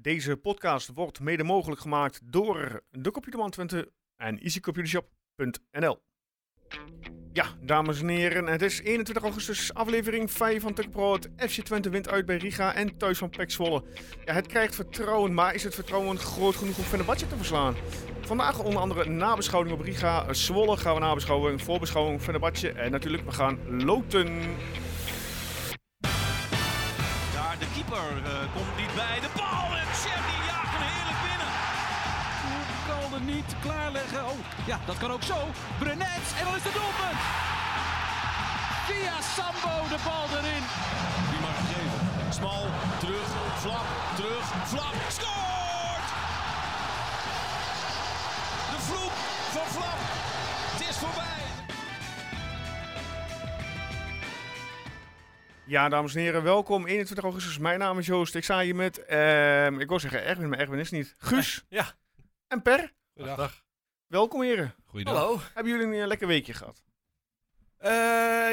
Deze podcast wordt mede mogelijk gemaakt door de Computerman Twente en easycomputershop.nl. Ja, dames en heren, het is 21 augustus, aflevering 5 van TechPro. Het FC Twente wint uit bij Riga en thuis van Pek Zwolle. Ja, het krijgt vertrouwen, maar is het vertrouwen groot genoeg om Fenerbahce te verslaan? Vandaag onder andere nabeschouwing op Riga, Zwolle gaan we nabeschouwen, voorbeschouwing Fenerbahce en natuurlijk we gaan loten. Daar de keeper eh, komt niet bij. De bal en Chef die jaagt hem heerlijk binnen. kan er niet klaarleggen. Oh, ja, dat kan ook zo. Brenets, en dan is het doelpunt. Via Sambo de bal erin. Die mag geven. Smal, terug, flap, terug, flap. Scoort! De vloek van flap. Het is voorbij. Ja, dames en heren, welkom 21 augustus. Mijn naam is Joost. Ik sta hier met, ehm, ik wil zeggen Erwin, maar Erwin is niet. Guus Ja. en Per. Goedendag. Welkom heren. Goeiedag. Hallo. Hebben jullie een eh, lekker weekje gehad? Eh,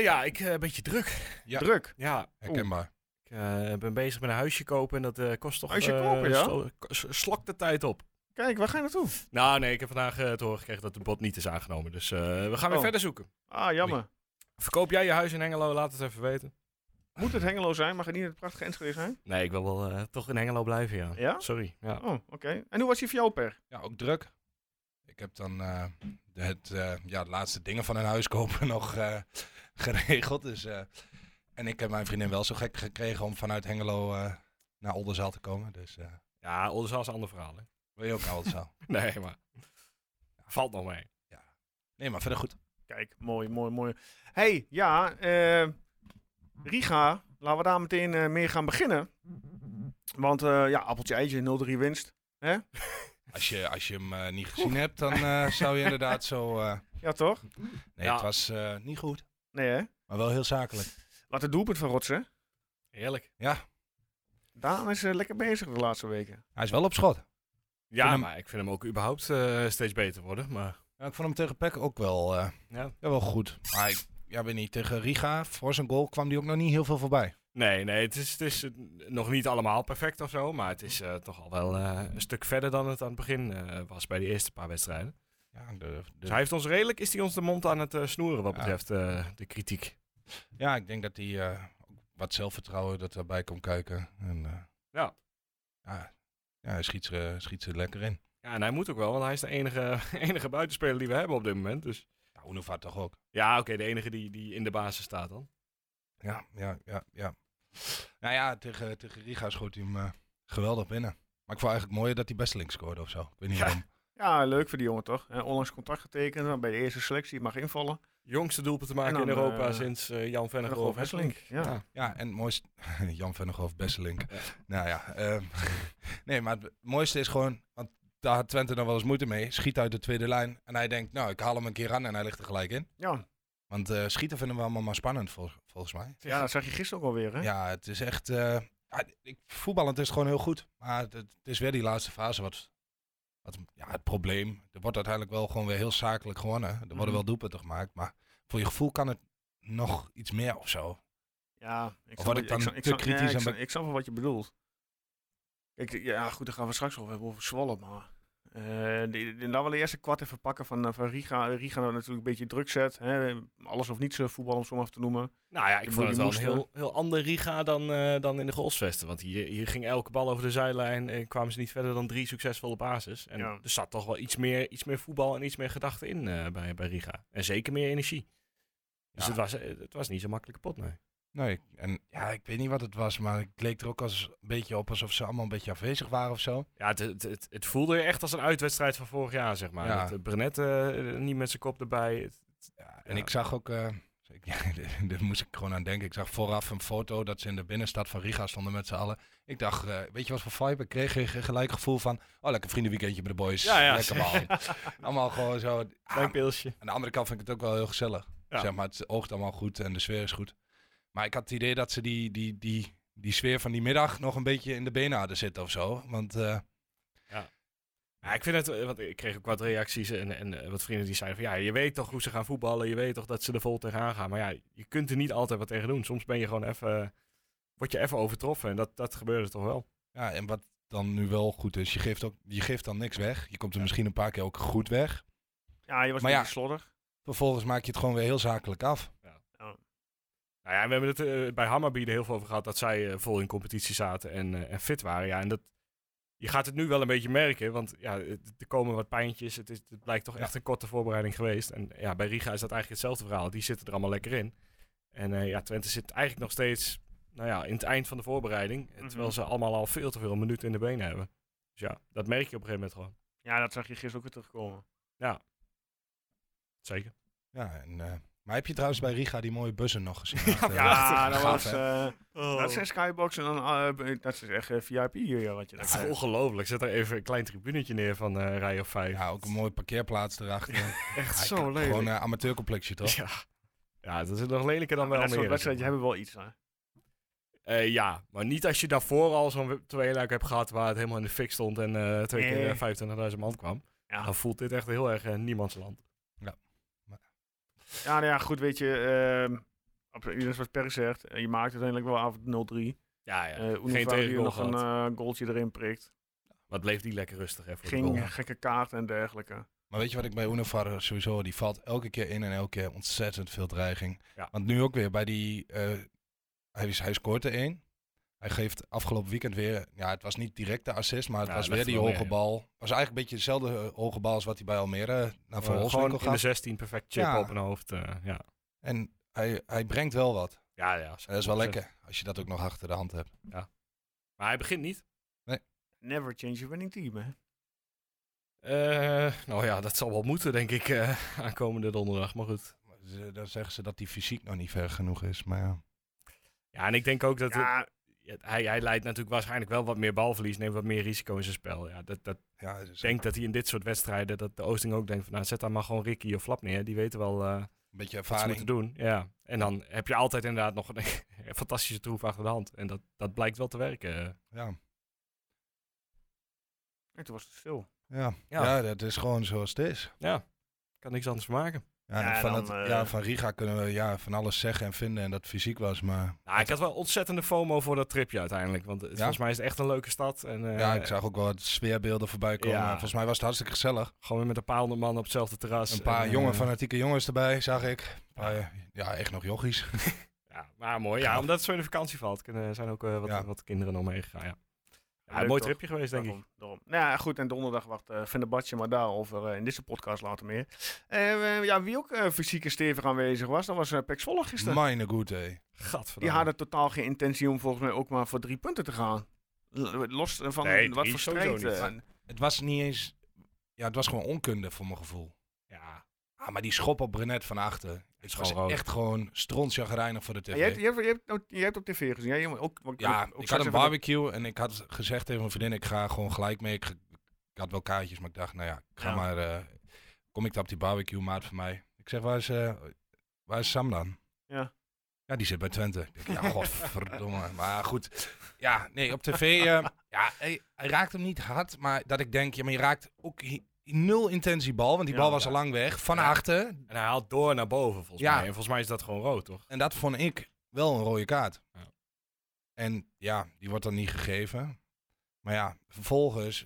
ja, ik eh, een beetje druk. Ja. Druk. Ja, Herkenbaar. ik eh, ben bezig met een huisje kopen en dat eh, kost toch... Huisje eh, kopen, ja? slo- k- s- slakt de tijd op. Kijk, waar ga je naartoe? Nou nee, ik heb vandaag eh, te horen gekregen dat de bod niet is aangenomen. Dus eh, we gaan weer Oh. verder zoeken. Ah, jammer. Verkoop jij je huis in Hengelo? Laat het even weten. Moet het Hengelo zijn? Mag het niet het prachtige Enschede zijn? Nee, ik wil wel eh, toch in Hengelo blijven, ja. Ja? Sorry. Ja. Oh, oké. En hoe was die voor jou, Per? Ja, ook druk. Ik heb dan eh, de- het, eh, ja, de laatste dingen van een huis kopen nog eh, geregeld. Dus, eh, en ik heb mijn vriendin wel zo gek gekregen om vanuit Hengelo eh, naar Oldenzaal te komen. Dus eh Ja, Oldenzaal is een ander verhaal, hè. wil je ook naar Oldenzaal? Nee, maar... Valt nog mee. Nee, maar verder goed. Kijk, mooi, mooi, mooi. hey, ja, eh, Riga, laten we daar meteen eh, mee gaan beginnen. Want eh, ja, appeltje eitje, 0-3 winst. Als je, als je hem eh, niet gezien hebt, dan eh, zou je inderdaad zo... eh, Ja, toch? nee, Ja. het was eh, niet goed. Nee, hè? Maar wel heel zakelijk. Wat een doelpunt van Rotsen. Heerlijk. Daan is eh, lekker bezig de laatste weken. Hij is wel op schot. Ja, vind hem- maar ik vind hem ook überhaupt eh, steeds beter worden, maar... Ja, ik vond hem tegen Peck ook wel, eh, Ja. ja, wel goed. Maar ik ja, weet niet, tegen Riga, voor zijn goal, kwam hij ook nog niet heel veel voorbij. Nee, nee, het is, het is eh, nog niet allemaal perfect of zo, maar het is eh, toch al wel eh, een stuk verder dan het aan het begin eh, was bij die eerste paar wedstrijden. Ja, de, de- Dus hij heeft ons redelijk, is hij ons de mond aan het eh, snoeren wat Ja. betreft eh, de kritiek. ja ik denk dat hij eh, ook wat zelfvertrouwen dat erbij komt kijken. En, eh, Ja. ja. Ja, hij schiet ze, schiet ze lekker in. Ja, en hij moet ook wel, want hij is de enige, enige buitenspeler die we hebben op dit moment. Dus Nou, Unova toch ook. ja, oké, de enige die, die in de basis staat dan. Ja, ja, ja, ja. Nou ja, tegen, tegen Riga schoot hij hem eh, geweldig binnen. Maar ik vond eigenlijk mooier dat hij Bestelink scoorde of zo. Ik weet niet Ja. waarom. Ja, leuk voor die jongen toch? Eh, onlangs contract getekend, dan bij de eerste selectie mag invallen. Jongste doelpunt te maken En dan, in Europa eh, sinds eh, Vennegoor Jan Vennegoor of Wesseling. Hesselink. Ja. Ja, en het mooiste... Jan Vennegoof, Besselink. Ja. Nou ja. ehm, nee, maar het mooiste is gewoon... Want daar had Twente dan wel eens moeite mee. Schiet uit de tweede lijn. En hij denkt, nou, ik haal hem een keer aan en hij ligt er gelijk in. Ja. Want eh, schieten vinden we allemaal maar spannend, vol- volgens mij. ja, dat zag je gisteren ook alweer hè? Ja, het is echt... eh, ja, ik, voetballend is het gewoon heel goed. Maar het, het is weer die laatste fase wat... wat ja, het probleem. Er wordt uiteindelijk wel gewoon weer heel zakelijk gewonnen. Er worden Mhm. wel doelpunten gemaakt. Maar voor je gevoel kan het nog iets meer of zo. Ja, ik word ik dan te kritisch ja, ik, en snap, be- ik snap wel wat je bedoelt. Ik, ja, goed, daar gaan we straks over hebben over Zwolle, maar... eh, die- die- laten we de eerste kwart even pakken van, eh, van Riga. Riga dat natuurlijk een beetje druk zet. Hè? Alles of niets eh, voetbal, om zo maar even te noemen. Nou ja, ik Die vond het wel een moesten. heel, heel ander Riga dan, eh, dan in de goalsvesten. Want hier, hier ging elke bal over de zijlijn en kwamen ze niet verder dan drie succesvolle bases. En Ja. er zat toch wel iets meer, iets meer voetbal en iets meer gedachten in eh, bij, bij Riga. En zeker meer energie. Dus Ja. het, was, eh, het was niet zo'n makkelijke pot, nee. Nee, en ja, ik weet niet wat het was. Maar het leek er ook als, een beetje op alsof ze allemaal een beetje afwezig waren of zo. Ja, het, het, het, het voelde echt als een uitwedstrijd van vorig jaar, zeg maar. Ja. Dat, eh, Brenet eh, niet met zijn kop erbij. Het- Ja, en Ja. ik zag ook, eh, ik, ja, dit- dit moest ik gewoon aan denken. Ik zag vooraf een foto dat ze in de binnenstad van Riga stonden met z'n allen. Ik dacht, eh, weet je wat voor vibe ik kreeg? Ik kreeg gelijk gevoel van, oh lekker vriendenweekendje bij de boys. Ja, ja. Lekker man. Allemaal gewoon zo. Ah, Klein pilsje. aan de andere kant vind ik het ook wel heel gezellig. Ja. Zeg maar, het oogt allemaal goed en de sfeer is goed. Maar ik had het idee dat ze die, die, die, die sfeer van die middag nog een beetje in de benen hadden zitten of zo. Want eh, Ja, ik vind het, eh, want ik kreeg ook wat reacties en, en eh, wat vrienden die zeiden van ja, je weet toch hoe ze gaan voetballen, je weet toch dat ze er vol tegenaan gaan. Maar ja, je kunt er niet altijd eh, wat tegen doen. Soms ben je gewoon even, word je even overtroffen en dat, dat gebeurde toch wel. Ja, en wat dan nu wel goed is. Je geeft, ook, je geeft dan niks weg. Je komt er misschien een paar keer ook goed weg. Ja, je was Maar een ja. beetje slordig. Vervolgens maak je het gewoon weer heel zakelijk af. Nou ja, we hebben het eh, bij Hammarby er heel veel over gehad dat zij eh, vol in competitie zaten en, eh, en fit waren. Ja, en dat, je gaat het nu wel een beetje merken, want ja, het- er komen wat pijntjes. Het, is, het blijkt toch echt een korte voorbereiding geweest. En ja, bij Riga is dat eigenlijk hetzelfde verhaal. Die zitten er allemaal lekker in. En eh, ja, Twente zit eigenlijk nog steeds nou ja, in het eind van de voorbereiding. eh, Terwijl Mhm. ze allemaal al veel te veel minuten in de benen hebben. Dus ja, dat merk je op een gegeven moment gewoon. Ja, dat zag je gisteren ook weer terugkomen. Zeker. Ja, en, eh, maar heb je trouwens bij Riga die mooie bussen nog gezien? Echt, eh, Ja, dat gaaf, was... hè? Oh. eh, Dat zijn skybox en dan... eh, dat is echt eh, VIP hier, ja, wat je daar Dat is krijgt. ongelooflijk. Zet er even een klein tribunetje neer van eh rij of vijf. ja, ook een mooie parkeerplaats erachter. echt Ja, zo lelijk. Gewoon een amateurcomplexje, toch? Ja. ja, dat is nog lelijker dan wel Dat soort Almere. wedstrijden hebben wel iets, hè. Eh, ja, maar niet als je daarvoor al zo'n tweeluik hebt gehad waar het helemaal in de fik stond en eh, twee Nee. keer eh, 25.000 man kwam. Ja. Dan voelt dit echt heel erg eh, niemandsland. Ja, nou ja, goed, weet je... ehm op, net wat Per zegt, eh, je maakt uiteindelijk wel af 0-3. Ja, ja. Eh Uno Vario Geen tegengoal nog een gehad. eh, goaltje erin prikt. Wat bleef die lekker rustig even. Geen gekke kaart en dergelijke. Maar weet je wat ik bij Unifar eh, sowieso, die valt elke keer in en elke keer ontzettend veel dreiging. Ja. Want nu ook weer bij die, eh, hij, is- hij scoort er één. Hij geeft afgelopen weekend weer, ja het was niet direct de assist, maar het Ja, was dat weer viel die mee, hoge ja. bal. was eigenlijk een beetje dezelfde eh, hoge bal als wat hij bij Almere naar Van Eh, gewoon Wolfswinkel in de gaf. 16 perfect chip Ja. op een hoofd. eh, ja. En hij, hij brengt wel wat. Ja, ja. En dat is wel 100%. lekker, als je dat ook nog achter de hand hebt. Maar hij begint niet. Never change your winning team, hè. Eh, nou ja, dat zal wel moeten, denk ik, eh, aankomende donderdag. Maar goed. Maar ze- Dan zeggen ze dat die fysiek nog niet ver genoeg is, maar ja. Ja, en ik denk ook dat het- Ja, ja, hij, hij leidt natuurlijk waarschijnlijk wel wat meer balverlies, neemt wat meer risico in zijn spel. Ja, dat, dat, ja het is Ik denk dat hij in dit soort wedstrijden, dat de Oosting ook denkt van nou zet daar maar gewoon Ricky of Flap neer. Die weten wel eh Een beetje wat ze ervaring. moeten doen. Ja. En dan heb je altijd inderdaad nog een fantastische troef achter de hand. En dat, dat blijkt wel te werken. Ja. en toen was het stil. Ja. Ja. Ja. dat is gewoon zoals het is. Ja, kan niks anders van maken. Ja, en Ja, van, dan, dat- eh, ja, van Riga kunnen we ja, van alles zeggen en vinden en dat het fysiek was, maar Nou, ik had wel ontzettende FOMO voor dat tripje uiteindelijk. Want het- Ja? volgens mij is het echt een leuke stad. En eh, ja, ik zag ook wel wat sfeerbeelden voorbij komen. Ja. En Volgens mij was het hartstikke gezellig. gewoon weer met een paar honderd man op hetzelfde terras. Een paar En, jonge eh, fanatieke jongens erbij, zag ik. Een paar, eh, ja, echt nog jochies. Ja, maar mooi. Ja, Gaaf. omdat het zo in de vakantie valt, kunnen, zijn ook eh, wat, Ja. wat kinderen nog meegegaan. Ja. Ja, Leuk mooi toch? tripje geweest, denk ik. Daarom, daarom. Nou ja, goed. En donderdag wacht eh Fenerbahce, maar daarover eh, in deze podcast later meer. Eh, eh, ja, wie ook eh, fysiek en stevig aanwezig was, dat was eh Pek Zwolle gisteren. Mijn goede. Die Gadverdamme. hadden totaal geen intentie om volgens mij ook maar voor drie punten te gaan. L- Los eh, van Nee, wat drie voor sowieso strijd. eh, niet. Het was niet eens, ja, het was gewoon onkunde voor mijn gevoel. Ja, Ah, maar die schop op Brenet van achter. Het gewoon was rood. echt gewoon strontjagrijnig voor de tv. jij, hebt, jij, hebt, jij, hebt, ook- jij hebt op tv gezien. Jij, jongen, ook, ook, Ja, ook ik straks had even een barbecue en ik had gezegd tegen mijn vriendin, ik ga gewoon gelijk mee. Ik, ik had wel kaartjes, maar ik dacht, nou ja, ik ga Ja. maar, eh, kom ik daar op die barbecue, maat van mij. Ik zeg, waar is, eh, waar is Sam dan? Ja. Ja, die zit bij Twente. Ik denk, ja, godverdomme. Maar goed, ja, nee, op tv, eh, ja, hij, hij raakt hem niet hard, maar dat ik denk, ja, maar je raakt ook hi- nul intentie bal, want die Ja, bal was ja. al lang weg, van Ja. achter. En hij haalt door naar boven volgens Ja. mij. En volgens mij is dat gewoon rood, toch? En dat vond ik wel een rode kaart. Ja. En ja, die wordt dan niet gegeven. Maar ja, vervolgens,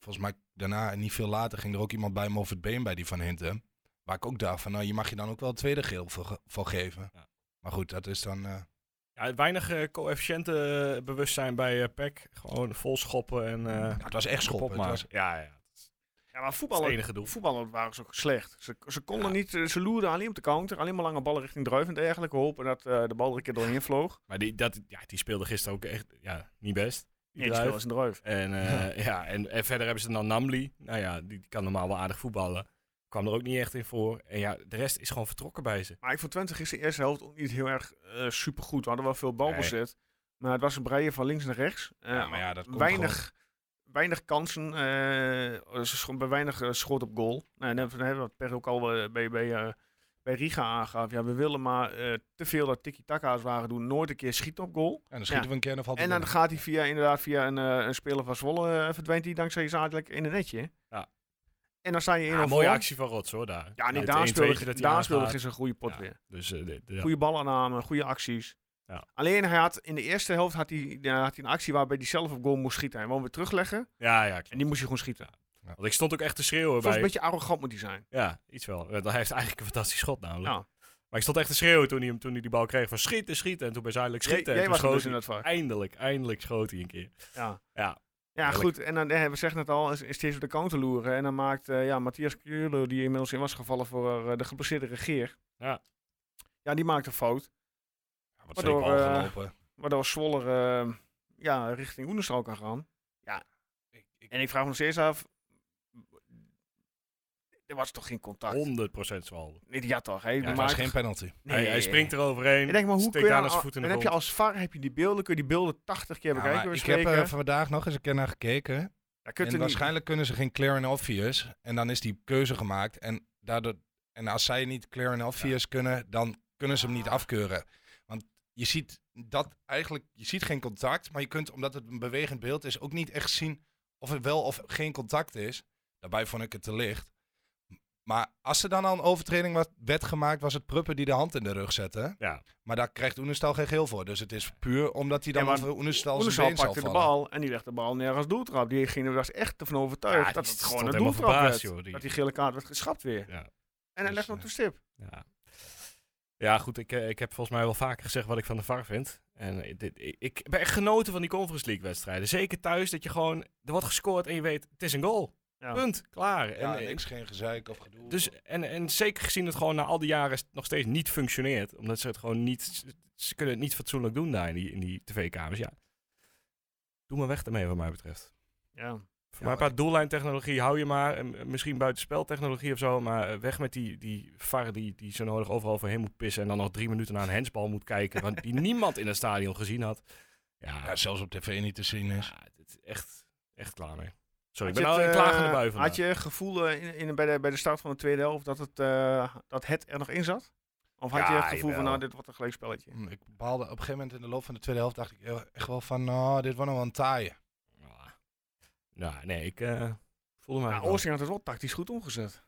volgens mij daarna en niet veel later, ging er ook iemand bij me over het been bij die van Hinten. Waar ik ook dacht van, nou, je mag je dan ook wel het tweede geel voor, ge- voor geven. Ja. Maar goed, dat is dan... eh, Ja, weinig eh coëfficiënten bewustzijn bij eh PEC. Gewoon vol schoppen en eh ja, het was echt schoppen. Het opmaken. was- Ja, ja. hebben. Ja, maar Dat is het voetballen, enige doel. voetballen waren ze ook slecht. Ze, ze konden niet, eh, ze loerden alleen op de counter. Alleen maar lange ballen richting druif en dergelijke. Hopen dat eh, de bal er een keer doorheen vloog. Maar die, dat, ja, die speelde gisteren ook echt ja, niet best. Die Nee, die druif. speelde een druif. En, eh, ja, en, en verder hebben ze dan Namli. Nou ja, die, die kan normaal wel aardig voetballen. Kwam er ook niet echt in voor. En ja, de rest is gewoon vertrokken bij ze. Maar ik vond Twente gisteren de eerste helft ook niet heel erg eh, supergoed. We hadden wel veel balbezit. Maar het was een breien van links naar rechts. Eh, Ja, maar ja, dat komt weinig, weinig kansen. eh, ze scho- bij weinig eh, schot op goal. Nou, en dan hebben we wat Per ook al eh, bij, bij, eh, bij Riga aangaf. Ja, we willen maar eh, te veel dat tiki-taka's waren doen. Nooit een keer schieten op goal. En dan schieten Ja. we een keer en dan valt En hij dan binnen. gaat hij via, inderdaad via een, eh, een speler van Zwolle eh, verdwijnt hij dankzij zadelijk in een netje. Ja. En dan sta je in Ja, een mooie actie van Rots hoor, daar. Ja, nee, het daar 1-2'tje speelde, dat hij daar speelde aangaat. gisteren een goede pot Ja, weer. Dus, eh, de- de- Goede balaanname, goede acties. Ja. Alleen hij had, in de eerste helft had hij, ja, had hij een actie waarbij hij zelf op goal moest schieten. Hij wou hem weer terugleggen Ja, ja. klopt. en die moest hij gewoon schieten. Want ik stond ook echt te schreeuwen Volgens bij... een beetje arrogant moet hij zijn. Ja, iets wel. Eh, Hij heeft eigenlijk een fantastisch schot namelijk. Ja. Maar ik stond echt te schreeuwen toen hij, hem- toen hij die bal kreeg van schieten, schieten. En toen bij zuidelijk Jij, schieten. jij en was toen er dus schoot in dat vak. hij- Eindelijk, eindelijk schoot hij een keer. Ja. Ja. Ja, Heerlijk. goed. En dan, eh, we zeggen het al, is, is steeds op de counter loeren. En dan maakt eh, ja, Matthias Keulen, die inmiddels in was gevallen voor eh, de geblesseerde regeer. Ja. Ja, die maakt een fout. Ja, wat Waardoor, zeker al eh, gelopen. Waardoor Zwolle eh, ja, richting Oenestal kan gaan. Ik, ik, En ik vraag me nog steeds af... Er was toch geen contact? 100% zwalbe. Nee, die had toch. Hè? Oh. Ja, het Maar- was geen penalty. nee. hij, hij springt eroverheen. Ik denk, maar hoe kun steekt je daar dan- zijn voet in de dan heb je grond. als VAR heb je die beelden, kun je die beelden 80 keer Ja, bekijken. maar bij ik spreken. heb eh, vandaag nog eens een keer naar gekeken. Ja, kunt en er niet- waarschijnlijk kunnen ze geen clear and obvious. En dan is die keuze gemaakt. En, daardoor, en als zij niet clear and obvious kunnen, dan kunnen ze hem niet afkeuren. Want je ziet dat eigenlijk, je ziet geen contact. Maar je kunt, omdat het een bewegend beeld is, ook niet echt zien of het wel of geen contact is. Daarbij vond ik het te licht. Maar als er dan al een overtreding wa- werd gemaakt, was het Pruppen die de hand in de rug zette. Ja. Maar daar krijgt Oenestal geen geel voor. Dus het is puur omdat hij dan Ja, maar over Oenestal zijn Oenestal been zal pakte de Dus vallen. bal en die legde de bal neer als doeltrap. Die ging er was echt ervan overtuigd Ja, dat die het stond gewoon een helemaal doeltrap verbaasd, werd. joh, die- Dat die gele kaart werd geschrapt weer. Ja. eh, En hij Dus, legde op de stip. Ja. Ja, goed, ik, eh, ik heb volgens mij wel vaker gezegd wat ik van de VAR vind. En eh, dit, ik, ik ben echt genoten van die Conference League wedstrijden. Zeker thuis, dat je gewoon, er wordt gescoord en je weet, het is een goal. Ja. Punt, klaar. Ja, en, eh, niks, geen gezeik of gedoe. dus, en, en zeker gezien het gewoon na al die jaren st- nog steeds niet functioneert. Omdat ze het gewoon niet, ze kunnen het niet fatsoenlijk doen daar in die, in die tv-kamers. Ja. Doe maar weg daarmee wat mij betreft. Ja. Voor mij een paar doellijntechnologie hou je maar. En eh, misschien buitenspeltechnologie of zo. Maar eh, weg met die, die VAR die, die zo nodig overal overheen moet pissen. En dan nog drie minuten naar een hensbal moet kijken. want die niemand in het stadion gezien had. Ja, Ja, zelfs op tv niet te zien is. ja, dit is echt, echt klaar mee. Sorry, ik Had ben je al het, in eh, klagende bui vandaag. Had je het gevoel eh, in, in, bij, de, bij de start van de tweede helft dat het, eh, dat het er nog in zat? Of had Ja, je het gevoel van, jawel. nou, dit wordt een gelijk spelletje? Mm, Ik baalde op een gegeven moment in de loop van de tweede helft dacht ik heel- echt wel van, nou, dit wordt nog wel een taaie. Ah. Nou, nee, ik eh, voelde me... Nou, eigenlijk wel- Oosting had het wel tactisch goed omgezet.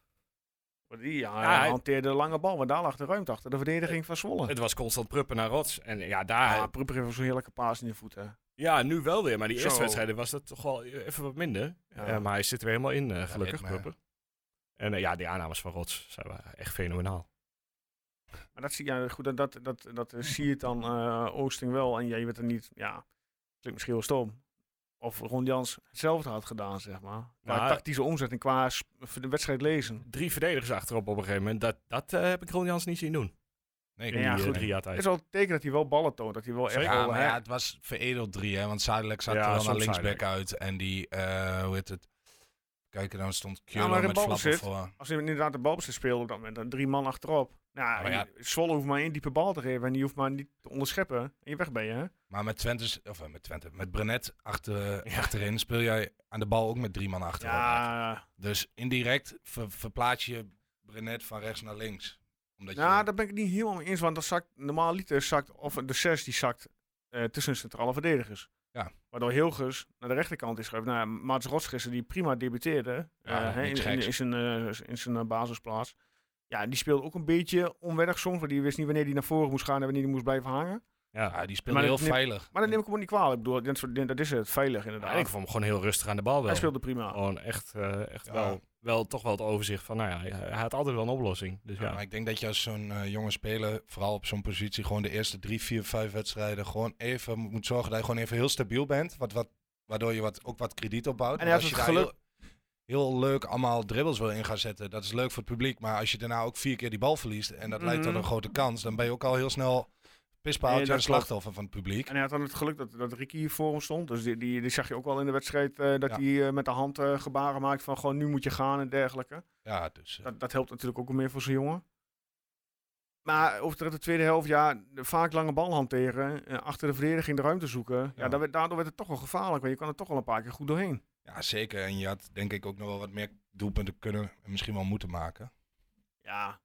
Want die ja, Ja, hij- hanteerde de lange bal, maar daar lag de ruimte achter. De verdediging van Zwolle. Het was constant pruppen naar rots. En ja, Ja, daar, ah, Prupper heeft zo'n heerlijke paas in de voeten. ja, nu wel weer. Maar die eerste Zo. wedstrijden was dat toch wel even wat minder. Ja. Eh, maar hij zit er weer helemaal in, eh, gelukkig, ritme. Pruppen. En eh, ja, die aannames van rots zijn waren echt fenomenaal. Maar dat zie ja, goed, dat, dat, dat, dat eh, zie je het dan eh, Oosting wel en jij bent er niet. Ja, klinkt misschien wel stom. Of Ron Jans hetzelfde had gedaan, zeg maar. Qua Nou, tactische omzet en qua sp- voor de wedstrijd lezen. Drie verdedigers achterop op een gegeven moment. Dat, dat eh, heb ik Ron Jans niet zien doen. Nee, In Ja, die eh, goed. drie jaar Het tijd. is wel een teken dat hij wel ballen toont. Dat hij wel echt Zeker. Ja, wel, maar hè, ja, het was veredeld drie, hè. Want Zadelijk zat Ja, er wel naar soms linksback Zadelijk. uit. En die, eh, hoe heet het? Kijk, dan stond Ja, Kjolo maar in met balbezit- flappen voor. als hij inderdaad de balbezit speelde op dat moment, dan drie man achterop. Nou, Maar ja. Zwolle hoeft maar één diepe bal te geven en die hoeft maar niet te onderscheppen. En je weg ben je, hè? Maar met Twente, of eh, met Twente, met Brenet achter, Ja. achterin speel jij aan de bal ook met drie man achterop. Ja, Dus indirect ver- verplaats je Brenet van rechts naar links. Omdat nou, je, daar ben ik het niet helemaal mee eens, want dat zakt, normaal liter zakt, of de 6 die zakt eh, tussen de centrale verdedigers. Ja. Waardoor Hilgers naar de rechterkant is geschuift. Nou, ja, Maats Rotskissen, die prima debuteerde Ja, eh, hè, in, niks in, geks. in zijn, eh, in zijn eh, basisplaats. Ja, die speelde ook een beetje onwennig soms, want die wist niet wanneer die naar voren moest gaan en wanneer die moest blijven hangen. Ja. ja, die speelde Maar heel dat knip- veilig. Maar dat neem ik hem ook niet kwalijk. Ik bedoel, dat, soort- dat is het, veilig Ja, inderdaad. ik vond hem gewoon heel rustig aan de bal wel. Hij speelde prima. Gewoon echt, eh, echt Ja. wel, wel toch wel het overzicht van, nou ja, hij had altijd wel een oplossing. Dus Ja, ja, maar ik denk dat je als zo'n eh, jonge speler, vooral op zo'n positie, gewoon de eerste drie, vier, vijf wedstrijden, gewoon even moet zorgen dat je gewoon even heel stabiel bent. Wat, wat, waardoor je wat, ook wat krediet opbouwt. En Want hij als had je het daar heel, heel leuk allemaal dribbles wil in gaan zetten, dat is leuk voor het publiek. Maar als je daarna ook vier keer die bal verliest en dat leidt tot Mhm. een grote kans, dan ben je ook al heel snel pispaaltje Nee, dat en klopt. slachtoffer van het publiek. En hij had dan het geluk dat, dat Ricky hier voor hem stond. Dus die, die, die zag je ook wel in de wedstrijd eh, dat Ja. hij eh, met de hand eh, gebaren maakt van gewoon nu moet je gaan en dergelijke. Ja, dus eh, Dat, dat helpt natuurlijk ook meer voor zijn jongen. Maar over de tweede helft, ja, de- vaak lange bal hanteren. eh, achter de verdediging de ruimte zoeken. Ja. Ja. daar werd- daardoor werd het toch wel gevaarlijk. Want je kan er toch wel een paar keer goed doorheen. ja, zeker. En je had denk ik ook nog wel wat meer doelpunten kunnen en misschien wel moeten maken. Ja,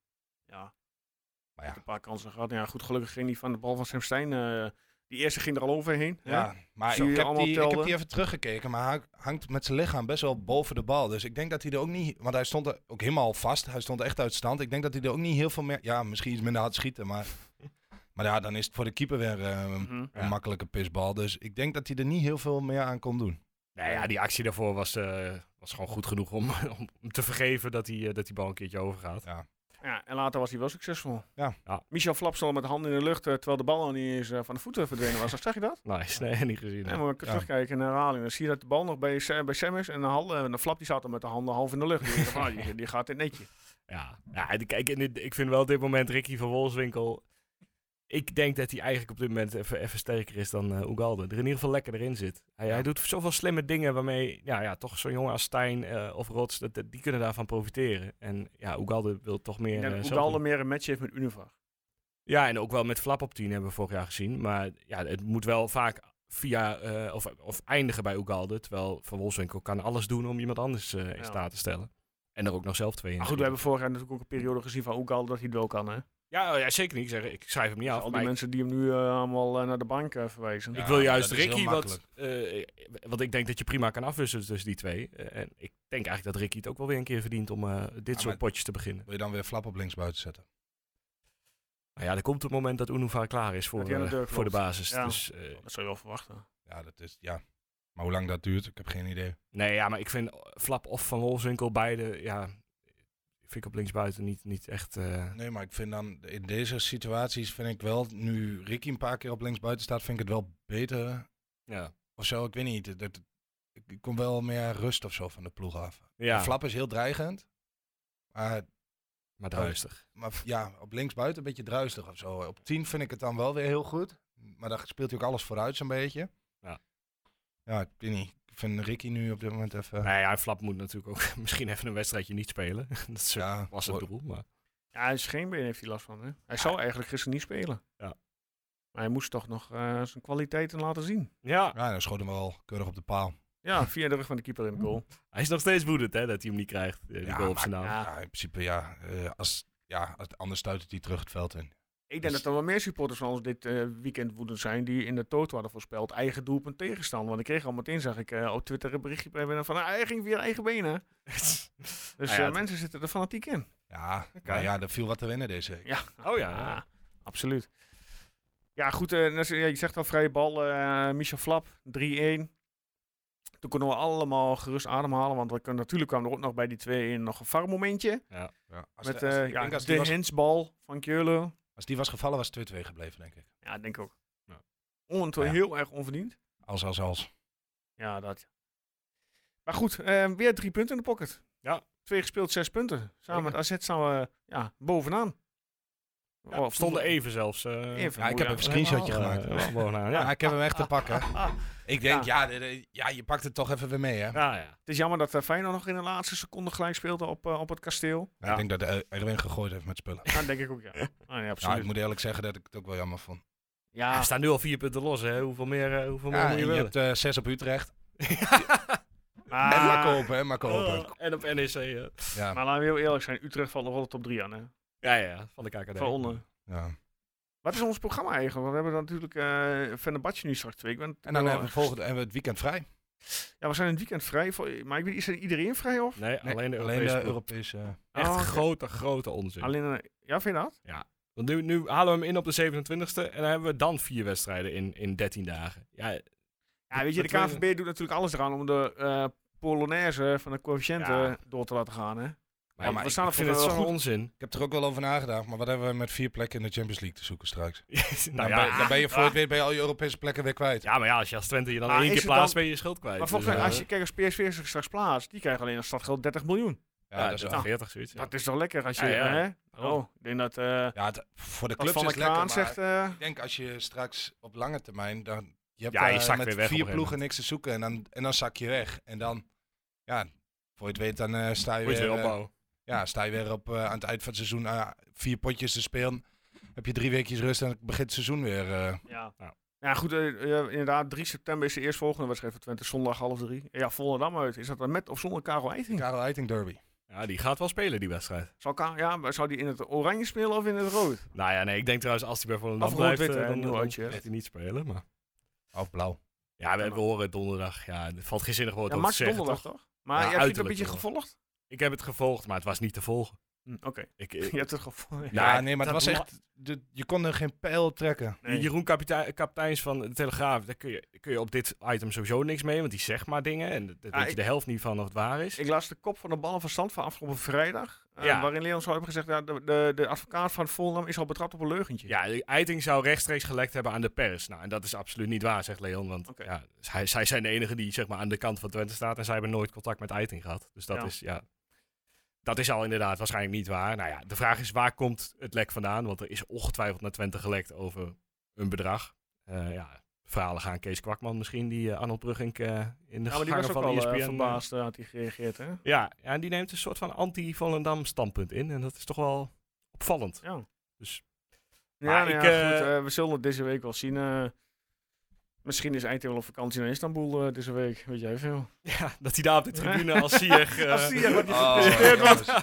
ja. Maar ja. Een paar kansen gehad. Ja, goed, gelukkig ging die van de bal van Sam Stein. eh, die eerste ging er al overheen. hè? Ja, maar Zie je ik heb, allemaal die, ik heb telde? die even teruggekeken, maar hij hangt met zijn lichaam best wel boven de bal. Dus ik denk dat hij er ook niet, want hij stond er ook helemaal vast. Hij stond echt uit stand. Ik denk dat hij er ook niet heel veel meer, ja, misschien iets minder hard schieten, maar Maar ja, dan is het voor de keeper weer eh, een, Mhm. een Ja. makkelijke pisbal. Dus ik denk dat hij er niet heel veel meer aan kon doen. Nou ja, die actie daarvoor was, eh, was gewoon goed genoeg om, om hem te vergeven dat die, eh, dat die bal een keertje overgaat. Ja, en later was hij wel succesvol. Ja. Ja. Michel Flap stond met de handen in de lucht, eh, terwijl de bal nog niet eens eh, van de voeten verdwenen was. Zag je dat? Nice, nee, niet gezien. En we terugkijken naar de herhaling. Dan zie je dat de bal nog bij, Sa- bij Sam is. En de, hal, en de Flap die zat er met de handen half in de lucht. Die, dacht, ah, die, die gaat in het netje. Ja, ja die- kijk, en dit- ik vind wel op dit moment Ricky van Wolfswinkel. Ik denk dat hij eigenlijk op dit moment even, even sterker is dan eh Ugalde. Er in ieder geval lekker in zit. Hij, hij doet zoveel slimme dingen waarmee ja, ja, toch zo'n jongen als Stijn eh, of Rots, dat, dat- die kunnen daarvan profiteren. En ja, Ugalde wil toch meer... Ik denk eh, dat zelf- Oedalde meer een match heeft met Univar. Ja, en ook wel met Flap op 10 hebben we vorig jaar gezien. Maar ja, het moet wel vaak via, eh, of, of eindigen bij Ugalde. Terwijl Van Wolfswinkel kan alles doen om iemand anders eh, in Ja. staat te stellen. En er ook nog zelf twee in. Maar goed, we hebben vorig jaar natuurlijk ook een periode gezien van Oedalde dat hij het wel kan. Hè? ja, ja, zeker niet. Ik, zeg, ik schrijf hem niet Dus af. al maar die ik- mensen die hem nu eh, allemaal eh, naar de bank eh, verwijzen. Ik Ja, wil maar juist dat is heel Ricky, wat, eh, want ik denk dat je prima kan afwisselen tussen die twee. Eh, en ik denk eigenlijk dat Ricky het ook wel weer een keer verdient om eh, dit Ja, soort maar- potjes te beginnen. Wil je dan weer flap op links buiten zetten? Nou ja, er komt het moment dat Unuva klaar is voor, Dat hij aan de eh, deur voor de klopt. basis. Ja. Dus, eh, Dat zou je wel verwachten. Ja, dat is, ja. Maar hoe lang dat duurt, ik heb geen idee. nee, ja, maar ik vind Flap of Van Wolfswinkel beide, ja, vind ik op linksbuiten niet, niet echt... eh, Nee, maar ik vind dan in deze situaties vind ik wel, nu Ricky een paar keer op links buiten staat, vind ik het wel beter ja. of zo. Ik weet niet. Dat, ik kom wel meer rust of zo van de ploeg af. ja, Flap is heel dreigend. Maar maar druistig. Maar f- ja, op linksbuiten een beetje druistig of zo. Op 10 vind ik het dan wel weer heel goed. Maar daar speelt hij ook alles vooruit zo'n beetje. Ja. Ja, ik weet niet. Ik vind Ricky nu op dit moment even... Nou ja, Flap moet natuurlijk ook misschien even een wedstrijdje niet spelen. dat is, ja, was het hoor- doel, maar... Ja, zijn scheenbeen heeft hij last van. Hè? Hij zou eigenlijk gisteren niet spelen. Ja. Maar hij moest toch nog eh, zijn kwaliteiten laten zien. Ja, Ja, dan schoot hem wel keurig op de paal. Ja, via de rug van de keeper in de goal. hij is nog steeds woedend hè, dat hij hem niet krijgt, eh, die Ja, goal op maar- zijn naam. ja. Ja, in principe ja. eh, als, ja als, anders stuit het hij terug het veld in. Ik denk Dus- dat er wel meer supporters van ons dit eh, weekend woedend zijn die in de toto hadden voorspeld eigen doelpunt tegenstander. Want ik kreeg al meteen, zag ik eh, op Twitter een berichtje bij binnen van, ah, hij ging via eigen benen. Dus Ah Nou ja, eh, het- mensen zitten er fanatiek in. Ja, maar ja, er viel wat te winnen deze week. Ja. Oh ja. absoluut. Ja, goed, eh, net zo- ja, je zegt al vrije bal, eh, Michel Flap, 3-1. Toen konden we allemaal gerust ademhalen, want we kunnen, natuurlijk kwam er ook nog bij die 2-1 nog een var momentje. Ja, als Met de, als- eh, ik ja, denk als, de die was, hensbal van Keulen. als die was gevallen, was het 2-2 gebleven, denk ik. Ja, denk ik ook. Ja. Ont- Ja. Heel erg onverdiend. Als, als, als. Ja, dat. Maar goed, eh, weer drie punten in de pocket. Ja. Twee gespeeld, zes punten. Samen met AZ staan we ja, bovenaan. Oh, Ja, we stonden even zelfs. eh, Even. Ja, ik heb Ja, een screenshotje helemaal, gemaakt. eh, bovenaan, Ja, ja. ik heb hem echt te pakken. Ik denk, Ja. ja, de- de- ja, je pakt het toch even weer mee, hè? Nou, Ja, ja. Het is jammer dat eh, Feyenoord nog in de laatste seconde gelijk speelde op, eh, op het kasteel. Ja, Ik denk dat eh, Erwin gegooid heeft met spullen. Ja, dat denk ik ook, ja. Ah, nee, Ja, ik absoluut. moet eerlijk zeggen dat ik het ook wel jammer vond. Ja, We staan nu al vier punten los, hè? Hoeveel meer, eh, hoeveel meer Ja, en moet je je willen? Ah. hebt eh, zes op Utrecht. maar, En maar kopen, hè, maar kopen. Oh, en op NEC. eh. Ja, maar laten we heel eerlijk zijn. Utrecht valt nog wel de top drie aan, hè. Ja, ja, van de KKD. Van onder. ja. Wat is ons programma eigenlijk? Want we hebben dan natuurlijk eh Fenerbahce nu straks twee. Ik ben En dan hebben we, volgende, hebben we het weekend vrij. Ja, we zijn het weekend vrij. voor- Maar ik weet, is er iedereen vrij of? Nee, alleen de Alleen eh, Europese eh. de ploeg. Europese... Echt Oh, oké. grote, grote onzin. Alleen, eh, ja, vind je dat? Want nu, nu halen we hem in op de 27e en dan hebben we dan vier wedstrijden in, in 13 dagen. Ja, Ja, weet je, de Dat we- KVB doet natuurlijk alles eraan om de eh Polonaise van de coëfficiënten Ja. door te laten gaan. Hè? maar, Want we ik- staan ik op vind een het zo'n goed- onzin. Ik heb er ook wel over nagedacht, maar wat hebben we met vier plekken in de Champions League te zoeken straks? nou, dan, ben, ja, dan ben je voor het weer bij al je Europese plekken weer kwijt. ja, maar ja, als je als Twente je dan Maar één is keer het dan- plaatst, ben je je schuld kwijt. maar Dus, volgens mij, eh, als je kijkt als PSV zich straks plaatst, die krijgen alleen als stadgeld 30 miljoen. Ja, Ja, dat is dat wel- 40 zoiets. ja. Dat is toch lekker als je... Ja, ja. Hè? Daarom. Oh, ik denk dat... eh ja, het- voor de wat clubs Van is der het lekker, Kraan maar zegt... eh, ik denk als je straks op lange termijn... Dan, je hebt Ja, je eh, zakt met weer weg op vier een gegeven ploegen niks te zoeken en dan, en dan zak je weg. En dan, ja, voor je het weet, dan eh, sta je Moet je weer... weer eh, opbouwen. Ja, sta je weer op, eh, aan het eind van het seizoen eh, vier potjes te spelen. Heb je drie weekjes rust en begint het seizoen weer. eh. ja. Ja. Ja, goed, eh, eh, inderdaad, 3 september is de eerstvolgende wedstrijd voor Twente, zondag half drie. Ja, Volendam uit. Is dat dan met of zonder Karel Eiting? Karel Eiting Derby. Ja, die gaat wel spelen, die wedstrijd. Zou, Ka- ja, maar zou die in het oranje spelen of in het rood? Nou ja, nee, ik denk trouwens als hij bij Volendam Of blijft, rood-wit, eh, hè, dan, nieuw dan uitje, hè. gaat hij niet spelen. Maar... Of blauw. Ja, we, Ja, we maar- horen het donderdag. Ja, er valt geen zinnig woord Ja, over Max te zeggen, donderdag toch? toch? Maar heb Ja, je het een uiterlijk beetje donderdag. gevolgd? Ik heb het gevolgd, maar het was niet te volgen. Hm, Oké, Ik, eh, je hebt het gevoel. Ja, nee, maar het dat was echt... de- Je kon er geen pijl trekken. Nee. Jeroen Kapita- Kapiteins van de Telegraaf, daar kun je, kun je op dit item sowieso niks mee, want die zegt maar dingen en Ah, daar weet ik- je de helft niet van of het waar is. Ik las de kop van de ballen van stand van afgelopen vrijdag. eh, Ja. Waarin Leon zou hebben gezegd, ja, de, de, de advocaat van Volendam is al betrapt op een leugentje. ja, de Eiting zou rechtstreeks gelekt hebben aan de pers. Nou, en dat is absoluut niet waar, zegt Leon, want Oké. ja, zij, zij zijn de enige die zeg maar, aan de kant van Twente staat en zij hebben nooit contact met Eiting gehad. Dus dat Ja. is, ja... Dat is al inderdaad waarschijnlijk niet waar. Nou ja, de vraag is waar komt het lek vandaan? Want er is ongetwijfeld naar Twente gelekt over een bedrag. Eh, ja, verhalen gaan Kees Kwakman misschien, die eh, Arnold Brugink eh, in de Ja, maar die gangen was ook van al eh, ESPN, eh, verbaasd eh, had hij gereageerd, hè? Ja, ja, en die neemt een soort van anti-Volendam standpunt in. En dat is toch wel opvallend. Ja. Dus- Ja, Maar nou ja, ik, goed, eh, eh, we zullen het deze week wel zien. eh. misschien is Eiting wel op vakantie naar Istanbul eh, deze week. Weet jij veel. Ja, dat hij daar op de tribune als Sieg... eh, Als Sieg wordt Oh, gepresenteerd jongens.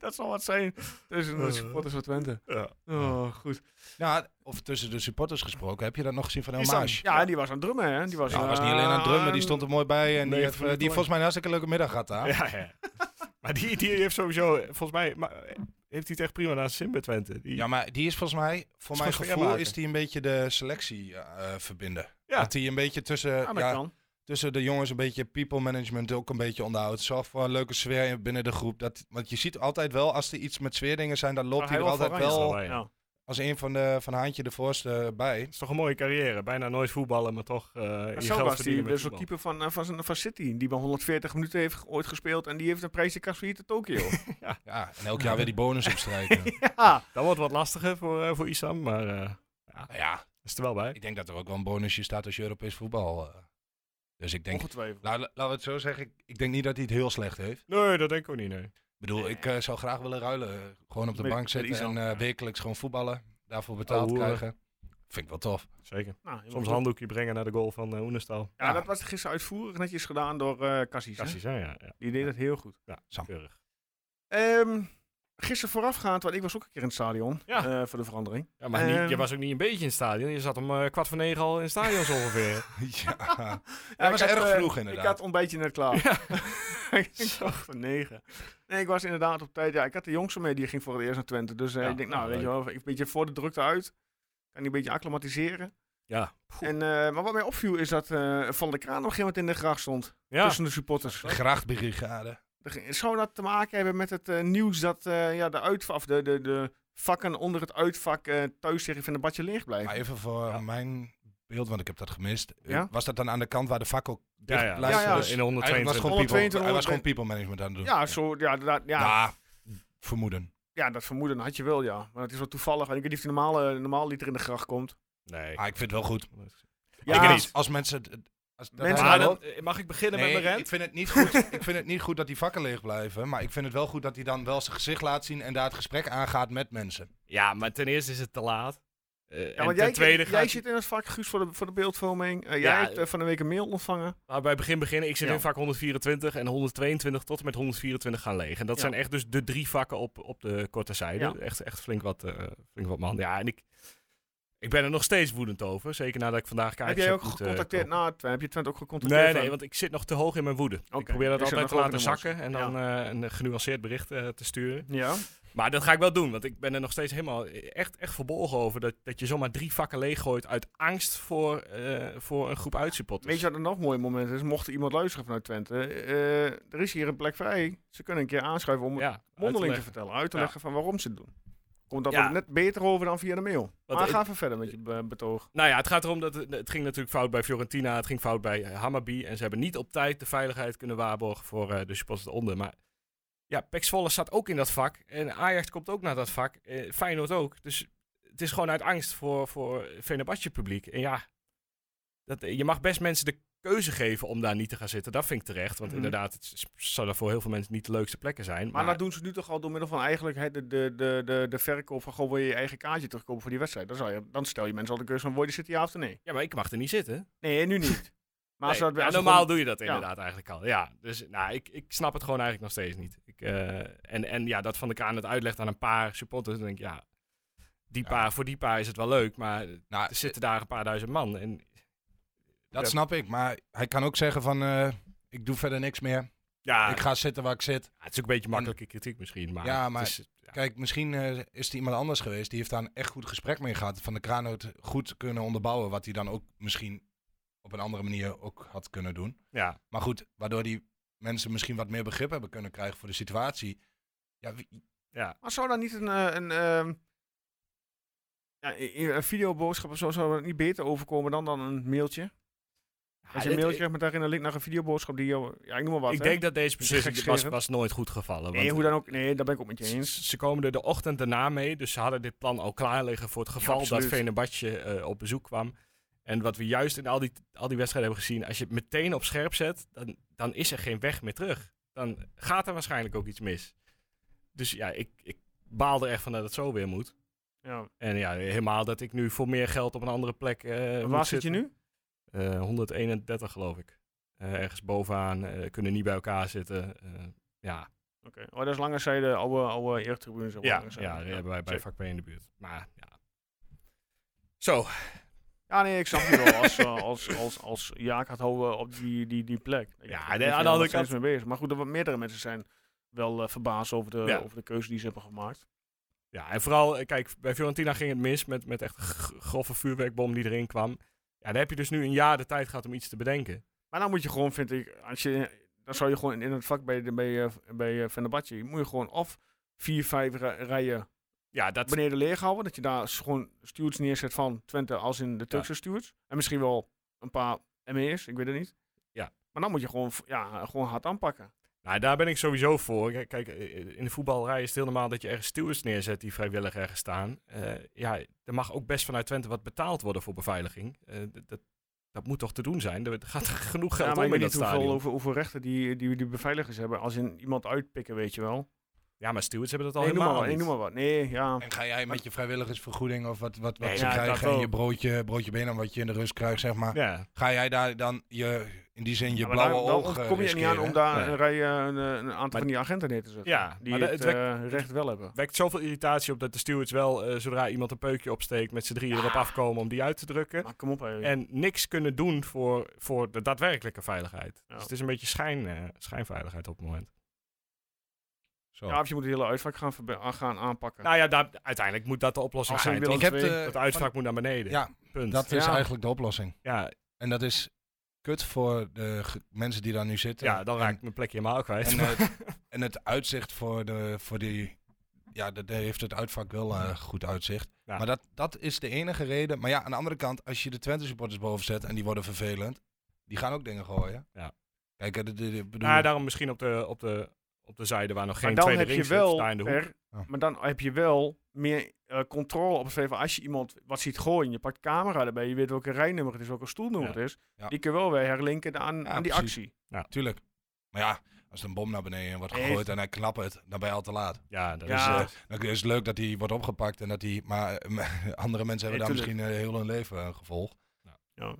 dat zal wat zijn tussen de Eh. supporters van Twente. ja. Oh, goed. Nou, of tussen de supporters gesproken, heb je dat nog gezien van Die staan- Elmaas? ja, die was aan het drummen, hè? Die was, eh, Ja, hij was niet alleen aan het drummen, die stond er mooi bij. En Nee, die, heeft, eh, die vond heeft ik mooi. volgens mij een hartstikke leuke middag gehad daar. ja, ja. maar die, die heeft sowieso, eh, volgens mij, maar, eh, heeft hij het echt prima naast Simba Twente. Die, Ja, maar die is volgens mij, voor Is mijn gevoel, gewoon sfeermaker. is die een beetje de selectie eh, eh, verbinden. Ja. Dat hij een beetje tussen, Ja, dat eh, ja, Ah, kan. tussen de jongens een beetje people management ook een beetje onderhoudt. Zorg voor een leuke sfeer binnen de groep. Dat, want je ziet altijd wel, als er iets met sfeerdingen zijn, dan hij loopt hij er wel altijd vooraan is, wel Het Ja. als een van de van Haantje de voorste bij. is toch een mooie carrière. Bijna nooit voetballen, maar toch eh je Maar geld zo was die, verdienen met dus de voetbal. keeper van, eh, van, van, van City, die bij 140 minuten heeft ge- ooit gespeeld en die heeft een prijzenkast voor hier te Tokio. Ja, en elk jaar weer die bonus opstrijken. ja, Dat wordt wat lastiger voor, eh, voor Isam, maar eh, Nou ja, is er wel bij. ik denk dat er ook wel een bonusje staat als je Europees voetbal. eh. Dus ik denk, ongetwijfeld. Nou, la- laten we het zo zeggen. Ik, ik denk niet dat hij het heel slecht heeft. Nee, dat denk ik ook niet, nee. Ik bedoel, ik eh, zou graag willen ruilen. eh, Gewoon op de Met- bank met zitten en Isan. eh, wekelijks gewoon voetballen. Daarvoor betaald Ouwe. krijgen. Vind ik wel tof. Zeker. Nou, je Soms moet- handdoekje brengen naar de goal van eh Oenestal. Ja, dat was gisteren uitvoerig netjes gedaan door eh Cassis. hè? Precies, ja, ja. ja. Die deed het heel goed. Sam. Keurig. Ehm, gisteren voorafgaand, want ik was ook een keer in het stadion. Ja. eh, voor de verandering. Ja, maar niet- Ehm. je was ook niet een beetje in het stadion. Je zat om eh, kwart voor negen al in het stadion zo ongeveer. ja. Ja, was ik had, erg eh, vroeg Ik had inderdaad. ontbijtje net klaar. ik dacht van negen. Nee, ik was inderdaad op tijd. Ja, ik had de jongste mee, die ging voor het eerst naar Twente. Dus eh, Ja, ik denk, nou, nou, weet je leuk. wel, even een beetje voor de drukte uit. Kan die een beetje acclimatiseren. Ja. En, eh, maar wat mij opviel is dat eh, Van der Kraan op een gegeven moment in de gracht stond. Ja, Tussen de supporters. De grachtbrigade. Er ging- Zou dat te maken hebben met het eh, nieuws dat eh, ja, de, uitva- of de, de, de vakken onder het uitvak eh thuis tegen van de badje leeg blijven? Maar even voor mijn beeld, want ik heb dat gemist. Eh, Ja? Was dat dan aan de kant waar de vak ook ja, dicht ja. blijft? Ja, ja, Dus in eigenlijk was 122. het gewoon 122, people, hij was gewoon people management aan het doen. Ja, zo, ja, da- ja, Nou, vermoeden. ja, dat vermoeden had je wel, ja. Maar het is wel toevallig. En ik weet niet of die normale, normaal liter in de gracht komt. Nee. Ah, Maar Ah, ik vind het wel goed. Ja, Ik weet als, niet. als mensen... het- het- Als dat Mensen- hij- Maar Maar dan- mag ik beginnen Nee, met ik mijn rent? vind, het niet goed, ik vind het niet goed dat die vakken leeg blijven. Maar ik vind het wel goed dat hij dan wel zijn gezicht laat zien en daar het gesprek aangaat met mensen. Ja, maar ten eerste is het te laat. Eh, Ja, en want ten jij, tweede jij gaat... zit in het vak, Guus, voor de, voor de beeldvorming. Eh, jij Ja, hebt eh, van de week een mail ontvangen. Nou, bij begin beginnen, ik zit Ja. in vak 124 en 122 tot en met 124 gaan leeg. En dat Ja. zijn echt dus de drie vakken op, op de korte zijde. Ja. Echt, echt flink, wat, eh, flink wat man. Ja, en ik, ik ben er nog steeds woedend over. Zeker nadat ik vandaag kaartjes heb jij ook moeten eh, gecontacteerd? kopen. Nou, Twen, heb je Twent ook gecontacteerd? Nee, nee, van- want ik zit nog te hoog in mijn woede. Oké, Ik probeer dat dus je altijd te hebt nog laten ook een zakken en emotie. dan eh, een eh, genuanceerd bericht eh, te sturen. Ja, Maar dat ga ik wel doen, want ik ben er nog steeds helemaal echt, echt verbolgen over dat, dat je zomaar drie vakken leeggooit uit angst voor, eh, voor een groep uitsupporters. weet je wat een nog mooi moment is? Mocht er iemand luisteren vanuit Twente, eh, er is hier een plek vrij. Ze kunnen een keer aanschuiven om het ja, mondeling te uitleg. vertellen, uit te Ja. leggen van waarom ze het doen. Komt dat Ja. ook net beter over dan via de mail. Wat maar ik- ga even verder met je be- betoog. Nou ja, het gaat erom dat het, het ging natuurlijk fout bij Fiorentina, het ging fout bij eh, Hammarby en ze hebben niet op tijd de veiligheid kunnen waarborgen voor eh, de supporters eronder. Maar ja, Pek Zwolle staat ook in dat vak en Ajax komt ook naar dat vak, eh, Feyenoord ook. Dus het is gewoon uit angst voor, voor Venebadje publiek. En ja, dat, eh, je mag best mensen de keuze geven om daar niet te gaan zitten. Dat vind ik terecht, want Mhm. inderdaad, het is- zouden voor heel veel mensen niet de leukste plekken zijn. Maar, dat doen ze nu toch al door middel van eigenlijk hè, de, de, de, de, de verkoop van gewoon wil je je eigen kaartje terugkopen voor die wedstrijd. Dan, zou je, dan stel je mensen al de keuze van wil je er zitten ja of nee. ja, maar ik mag er niet zitten. Nee, nu niet. Maar als Nee, dat, ja, als dat normaal gewoon- doe je dat ja. inderdaad eigenlijk al. Ja, dus nou, ik, ik snap het gewoon eigenlijk nog steeds niet. Ik, eh, en, en ja, dat Van de Kraan het uitlegt aan een paar supporters, dan denk ik, ja, die Ja. paar, voor die paar is het wel leuk, maar Nou, er zitten daar een paar duizend man. En, dat Ja. snap ik. Maar hij kan ook zeggen van, eh, ik doe verder niks meer. Ja, Ik ga zitten waar ik zit. het is ook een beetje makkelijke kritiek misschien. Maar Ja, het maar is- ja. Kijk, misschien eh, is er iemand anders geweest die heeft daar een echt goed gesprek mee gehad. Van de Kraan het goed kunnen onderbouwen. Wat hij dan ook misschien op een andere manier ook had kunnen doen. ja. Maar goed, waardoor die mensen misschien wat meer begrip hebben kunnen krijgen voor de situatie. Ja, wie- Maar zou daar niet een, eh, een, ehm, ja, i- i- een videoboodschap of zo zou dat niet beter overkomen dan, dan een mailtje? Als je een dit- mailtje krijgt met daarin een link naar een videoboodschap die jou... Ja, ik noem maar wat. ik hè? denk dat deze beslissing was, gekscherend. was nooit goed gevallen. Nee, want hoe dan ook. Nee, daar ben ik ook met je eens. Ze ze komen er de ochtend daarna mee, dus ze hadden dit plan al klaar liggen voor het geval dat absoluut. Venebadje op bezoek kwam. En wat we juist in al die, al die wedstrijden hebben gezien, als je het meteen op scherp zet, dan, dan is er geen weg meer terug. Dan gaat er waarschijnlijk ook iets mis. Dus ja, ik, ik baal er echt van dat het zo weer moet. Ja. En ja, helemaal dat ik nu voor meer geld op een andere plek. eh Waar moet zit je zitten. nu? Eh, 131 geloof ik. Eh, ergens bovenaan, eh, kunnen niet bij elkaar zitten. Eh, ja, Oké. Oh, dat is langs zij de oude, oude eertribune. zeg maar, ja, langs zij. ja, die hebben wij bij zeker. vak B in de buurt. Maar ja. Zo, Ja, nee, ik snap je wel. Als, eh, als, als, als Jaak had houden op die, die, die plek. Ik Ja, denk aan de dat je andere daar nog kant- steeds mee bezig. Maar goed, er wat meerdere mensen zijn wel eh, verbaasd over de, Ja. over de keuze die ze hebben gemaakt. ja, en vooral, eh, kijk, bij Fiorentina ging het mis met, met echt g- grove vuurwerkbom die erin kwam. Ja, dan heb je dus nu een jaar de tijd gehad om iets te bedenken. Maar dan moet je gewoon, vind ik, als je, dan zou je gewoon in, in het vak bij, de, bij, eh, bij eh, Fenerbahce, moet je gewoon of vier, vijf ri- rijen Ja, dat, beneden leeg houden. Dat je daar s- gewoon stewards neerzet van Twente als in de Turkse stewards. En misschien wel een paar ME's, ik weet het niet. Ja. Maar dan moet je gewoon, v- ja, gewoon hard aanpakken. nou, daar ben ik sowieso voor. Kijk, kijk, eh, in de voetbalrij is het heel normaal dat je ergens stewards neerzet die vrijwillig ergens staan. Eh, ja, er mag ook best vanuit Twente wat betaald worden voor beveiliging. Eh, d- dat, dat moet toch te doen zijn? Er gaat genoeg Ja, geld maar ik om weet niet in dat hoeveel, stadion. hoeveel, hoeveel rechten die, die, die beveiligers hebben. Als in iemand uitpikken, weet je wel. Ja, maar stewards hebben dat al Nee, noem maar, helemaal wat, nee, niet. noem maar wat. Nee, ja. en ga jij met je vrijwilligersvergoeding of wat, wat, wat Nee, ze ja, dat krijgen en ook. je broodje, broodje binnen wat je in de rust krijgt, zeg maar. Ja, Ga jij daar dan je, in die zin je Ja, maar blauwe daar- daar oog eh, kom je er niet aan om riskeren? daar Nee. een, rij, eh, een, een aantal Maar- van die agenten neer te zetten. Ja, die maar dat- het, het eh, recht wel hebben. wekt zoveel irritatie op dat de stewards wel, eh, zodra iemand een peukje opsteekt, met z'n drieën erop afkomen om die uit te drukken. Maar kom op, hè. En niks kunnen doen voor, voor de daadwerkelijke veiligheid. Ja. Dus het is een beetje schijn, eh, schijnveiligheid op het moment. Zo. Ja, of je moet het hele uitvak gaan, verbe- aan- gaan aanpakken. Nou ja, daar, uiteindelijk moet dat de oplossing Als je zijn. wil- toch? ik heb twee, de, Dat uitvak moet naar beneden. Ja, Punt. dat is Ja. eigenlijk de oplossing. ja, En dat is kut voor de ge- mensen die daar nu zitten. ja, dan raak En- ik mijn plekje helemaal kwijt. En, eh, en het uitzicht voor, de, voor die. Ja, dat daar heeft het uitvak wel eh, goed uitzicht. Ja. Maar dat, dat is de enige reden. Maar ja, aan de andere kant, als je de Twente supporters boven zet en die worden vervelend, die gaan ook dingen gooien. Ja. Kijk, eh, de, de, de- bedoel, Nou, daarom misschien op de, op, de, op de zijde waar nog geen maar dan tweede heb je ring wel, zit, daar in de hoek. per- Ja. maar dan heb je wel meer eh, controle op het VV. Als je iemand wat ziet gooien, je pakt camera erbij, je weet welke rijnummer het is, welke stoelnummer Ja. het is. Ja. Die kun je wel weer herlinken aan, Ja, aan die precies. actie. tuurlijk. Maar ja, als er een bom naar beneden wordt Nee. gegooid en hij knapt het, dan ben je al te laat. Ja, dat Ja. is... eh, Dan is het leuk dat hij wordt opgepakt en dat hij. Maar eh, andere mensen hebben Nee, daar misschien eh, heel hun leven eh, gevolg. Ja.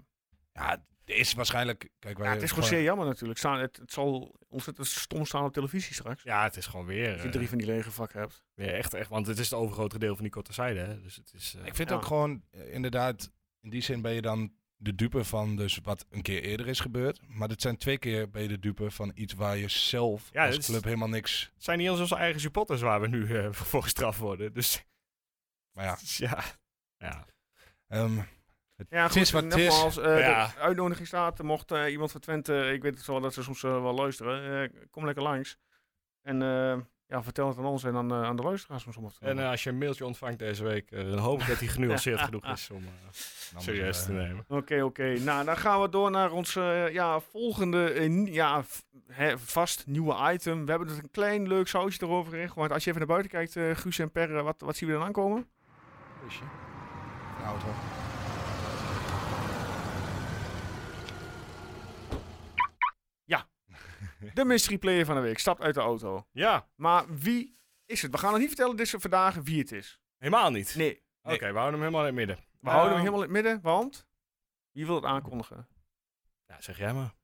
Ja, er is waarschijnlijk. Kijk, wij Ja, het is Eh, gewoon gewoon- zeer jammer natuurlijk. Staan- Het, het zal ontzettend stom staan op televisie straks. ja, het is gewoon weer... Als je eh, drie van die lege vakken hebt. weer echt, echt, want het is het overgrote deel van die korte zijde. Hè? Dus het is... eh, Ik vind Ja. ook gewoon, eh, inderdaad, in die zin ben je dan de dupe van dus wat een keer eerder is gebeurd. Maar dit zijn twee keer ben je de dupe van iets waar je zelf Ja, als dit is- club helemaal niks... Het zijn niet eens onze eigen supporters waar we nu eh, voor gestraft worden. Dus Maar ja, ja. ja. ehm, Ja, Het goed, is wat het is. Nou, nogmaals, eh, Ja. de uitnodiging staat. Mocht eh, iemand van Twente, ik weet het wel dat ze soms eh, wel luisteren, eh, kom lekker langs. En eh, ja, vertel het aan ons en aan, eh, aan de luisteraars soms. om het te En doen. eh, als je een mailtje ontvangt deze week, eh, dan hoop ik dat hij genuanceerd genoeg is om eh, namens, serieus eh, te nemen. Oké, oké. Nou, dan gaan we door naar ons eh, ja, volgende eh, nie- ja, v- hè, vast nieuwe item. We hebben er een klein leuk sausje erover ingegooid. Als je even naar buiten kijkt, eh, Guus en Per, eh, wat, wat zien we dan aankomen? een auto. De mystery player van de week stapt uit de auto. Ja, Maar wie is het? We gaan nog niet vertellen dit is vandaag wie het is. helemaal niet. Nee, Nou. Oké, we houden hem helemaal in het midden. We houden Ehm, hem helemaal in het midden, want wie wil het aankondigen? Ja, zeg jij maar.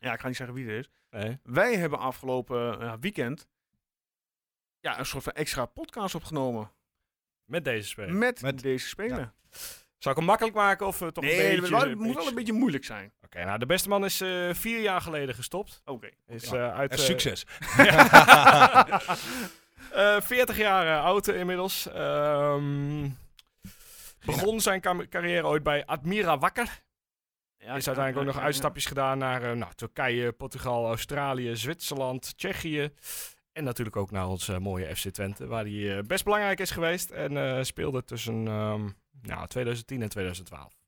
Ja, ik ga niet zeggen wie het is. Nee. Wij hebben afgelopen eh, weekend ja, een soort van extra podcast opgenomen Met deze speler. met, Met- deze speler. Zou ik hem makkelijk maken of eh, toch een Nee, beetje... het moet wel- het moet wel een beetje moeilijk zijn. Oké, nou, de beste man is eh, vier jaar geleden gestopt. Oké. Is, eh, uit, En eh, succes. Eh, 40 jaar eh, oud eh, inmiddels. Ehm, begon zijn kam- carrière ooit bij Admira Wakker. Ja, is ja, uiteindelijk ja, ook nog ja, uitstapjes gedaan naar eh, nou, Turkije, Portugal, Australië, Zwitserland, Tsjechië. En natuurlijk ook naar ons eh, mooie FC Twente, waar hij eh, best belangrijk is geweest. En eh, speelde tussen ehm, nou, 2010 en 2012. ja.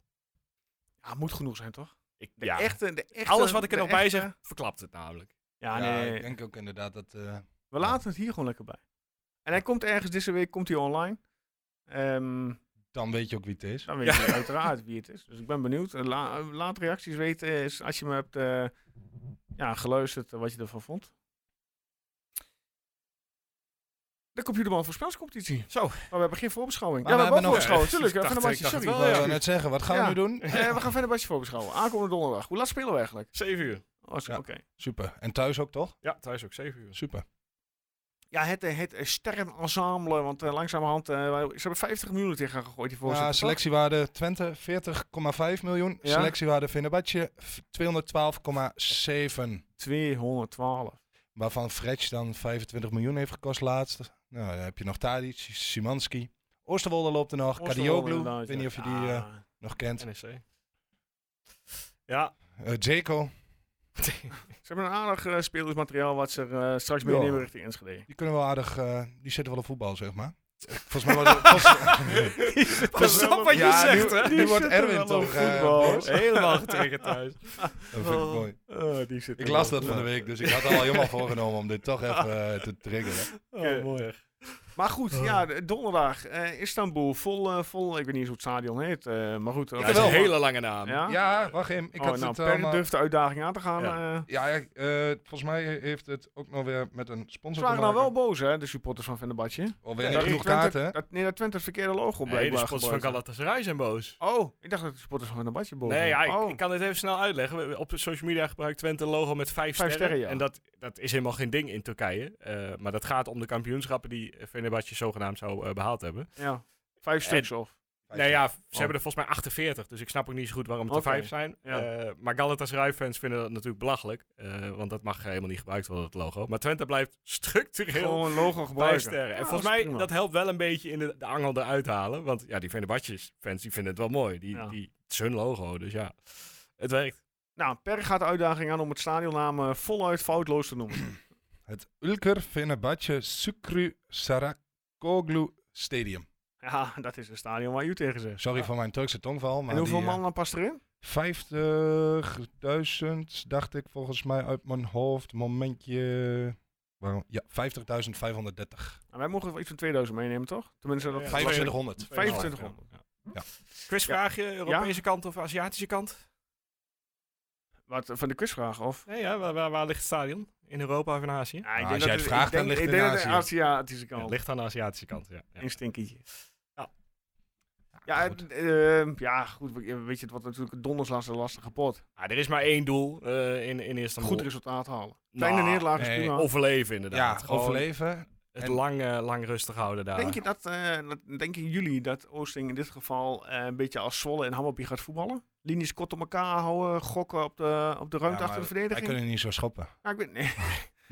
Ja, moet genoeg zijn, toch? Ik, De ja, echte, de echte, alles wat ik er de nog bij echte- zeg, verklapt het namelijk. Ja, Ja, nee, nee, Ik denk ook inderdaad dat... eh, We laten het hier gewoon lekker bij. En hij komt ergens deze week komt hij online. Ehm, dan weet je ook wie het is. dan weet je uiteraard wie het is. Dus ik ben benieuwd. Eh, La, eh, laat reacties weten is als je me hebt eh, ja, geluisterd eh, wat je ervan vond. De computerman voorspelscompetitie. Zo. Maar we hebben geen voorbeschouwing. Maar ja, we, we hebben ook hebben voorbeschouwing. nog- Tuurlijk, we Ik gaan een dacht- bandje. ik dacht Sorry. Ik wou wel, ja. wel net zeggen, wat gaan we Ja. nu doen? Eh, we gaan verder bandje voorbeschouwen. Aankomende donderdag. Hoe laat spelen we eigenlijk? 7 uur. Oh, zo, Ja. oké. Super. En thuis ook toch? Ja, thuis ook 7 uur. Super. Ja, het, eh, het eh, sterrenensemble. Want eh, langzamerhand, eh, wij- ze hebben 50 miljoen tegen gegooid die Ja, voorzitter. toch? selectiewaarde Twente 40,5 miljoen. Ja. Selectiewaarde Fenerbahce f- 212,7. 212. Waarvan Fretch dan 25 miljoen heeft gekost laatst. Nou, dan heb je nog Tadic, Simanski. Oosterwolde loopt er nog. Kadioglu, ik weet niet of je die Ah. eh, nog kent. NEC. Ja. Eh, Dzeko, Ze hebben een aardig eh, speelersmateriaal wat ze er, eh, straks Ja. meenemen richting Enschede. die kunnen wel aardig... eh, die zitten wel op voetbal, zeg maar. Volgens mij wordt... volgens- Verstap wat je Ja, zegt, hè? nu wordt Erwin toch... eh, boos. Helemaal getriggerd thuis. Dat vind ik mooi. die zit Ik las dat van de week, dus ik had al helemaal voorgenomen om dit toch even eh, te triggeren. Oké. mooi. echt. Maar goed, ja, d- donderdag. eh, Istanbul, vol, eh, vol, ik weet niet eens hoe het stadion heet. eh, maar goed. Ja, ook dat is wel, een wel. hele lange naam. Ja? Ja, wacht even. Ik oh, had nou, het Per allemaal... durft de uitdaging aan te gaan. Ja. eh. Ja, ja, eh, volgens mij heeft het ook nog weer met een ze sponsor te waren maken. nou wel boos, hè, de supporters van Venderbadje. Alweer Nee, niet dat genoeg Twente- kaarten, hè? dat- nee, dat Twente het verkeerde logo Nee, de blijkbaar sponsors van gebruikt. Galatasaray zijn boos. Oh, ik dacht dat de supporters van Venderbadje boos Nee, ja, waren. ik, oh. ik kan dit even snel uitleggen. We- Op social media gebruikt Twente een logo met vijf, Vijf sterren. sterren, ja. En dat, dat is helemaal geen ding in Turkije. Eh, maar dat gaat om de kampioenschappen die Fenerbahce zogenaamd zou eh, behaald hebben. ja. Vijf stuks of. Nou ja, ze Oh. hebben er volgens mij 48. Dus ik snap ook niet zo goed waarom het Oké, er vijf zijn. ja. Eh, maar Galatasaray-fans vinden dat natuurlijk belachelijk. eh, want dat mag helemaal niet gebruikt worden, dat logo. Maar Twente blijft structureel Gewoon een logo Vijf gebruiken. sterren. En Ja, volgens dat is mij, prima. dat helpt wel een beetje in de, de angel eruit halen. Want ja, die Fenerbahce fans, die vinden het wel mooi. Die, Ja. die, het is hun logo, dus ja. Het werkt. Nou, Per gaat de uitdaging aan om het stadionnaam eh, voluit foutloos te noemen. Het Ulker Fenerbahce Sukru Sarakoglu Stadium. ja, dat is een stadion waar u tegen zegt. Sorry Ja. voor mijn Turkse tongval, maar Ah. En hoeveel die, eh, man dan past erin? 50.000, dacht ik volgens mij uit mijn hoofd. Momentje... Waarom? Ja, 50.530. Nou, wij mogen wel iets van 2000 meenemen, toch? Tenminste, dat Ja, ja, vijf- 2500. 2500. Quizvraagje, Europese kant of Aziatische kant? Wat, eh, van de quizvraag, of? Nee, ja, waar, waar, waar ligt het stadion? In Europa of in Azië? Ja, ik Nou, als jij het ik vraagt, dan denk- ligt ik het in denk dat de Azië. Aziatische Ja, kant. het ligt aan de Aziatische kant, ja. ja. Een stinkietje. Ja. Ja, goed. het, eh, ja, goed. we- Weet je, het wordt natuurlijk een donders een lastige pot. Ah, er is maar één doel eh, in, in eerste Goed resultaat halen. Kleine nederlaag is Nou, nee, prima. Overleven inderdaad. Ja, Gewoon overleven. Het En- lang, eh, lang rustig houden daar. Denk je dat, eh, dat- denken jullie dat Oosting in dit geval eh, een beetje als Zwolle en Hammerby gaat voetballen? Linies kort op elkaar houden, gokken op de, op de ruimte Ja, achter de maar Wij verdediging? kunnen niet zo schoppen. Ja, Nou, ik weet, nee, nee, Nee,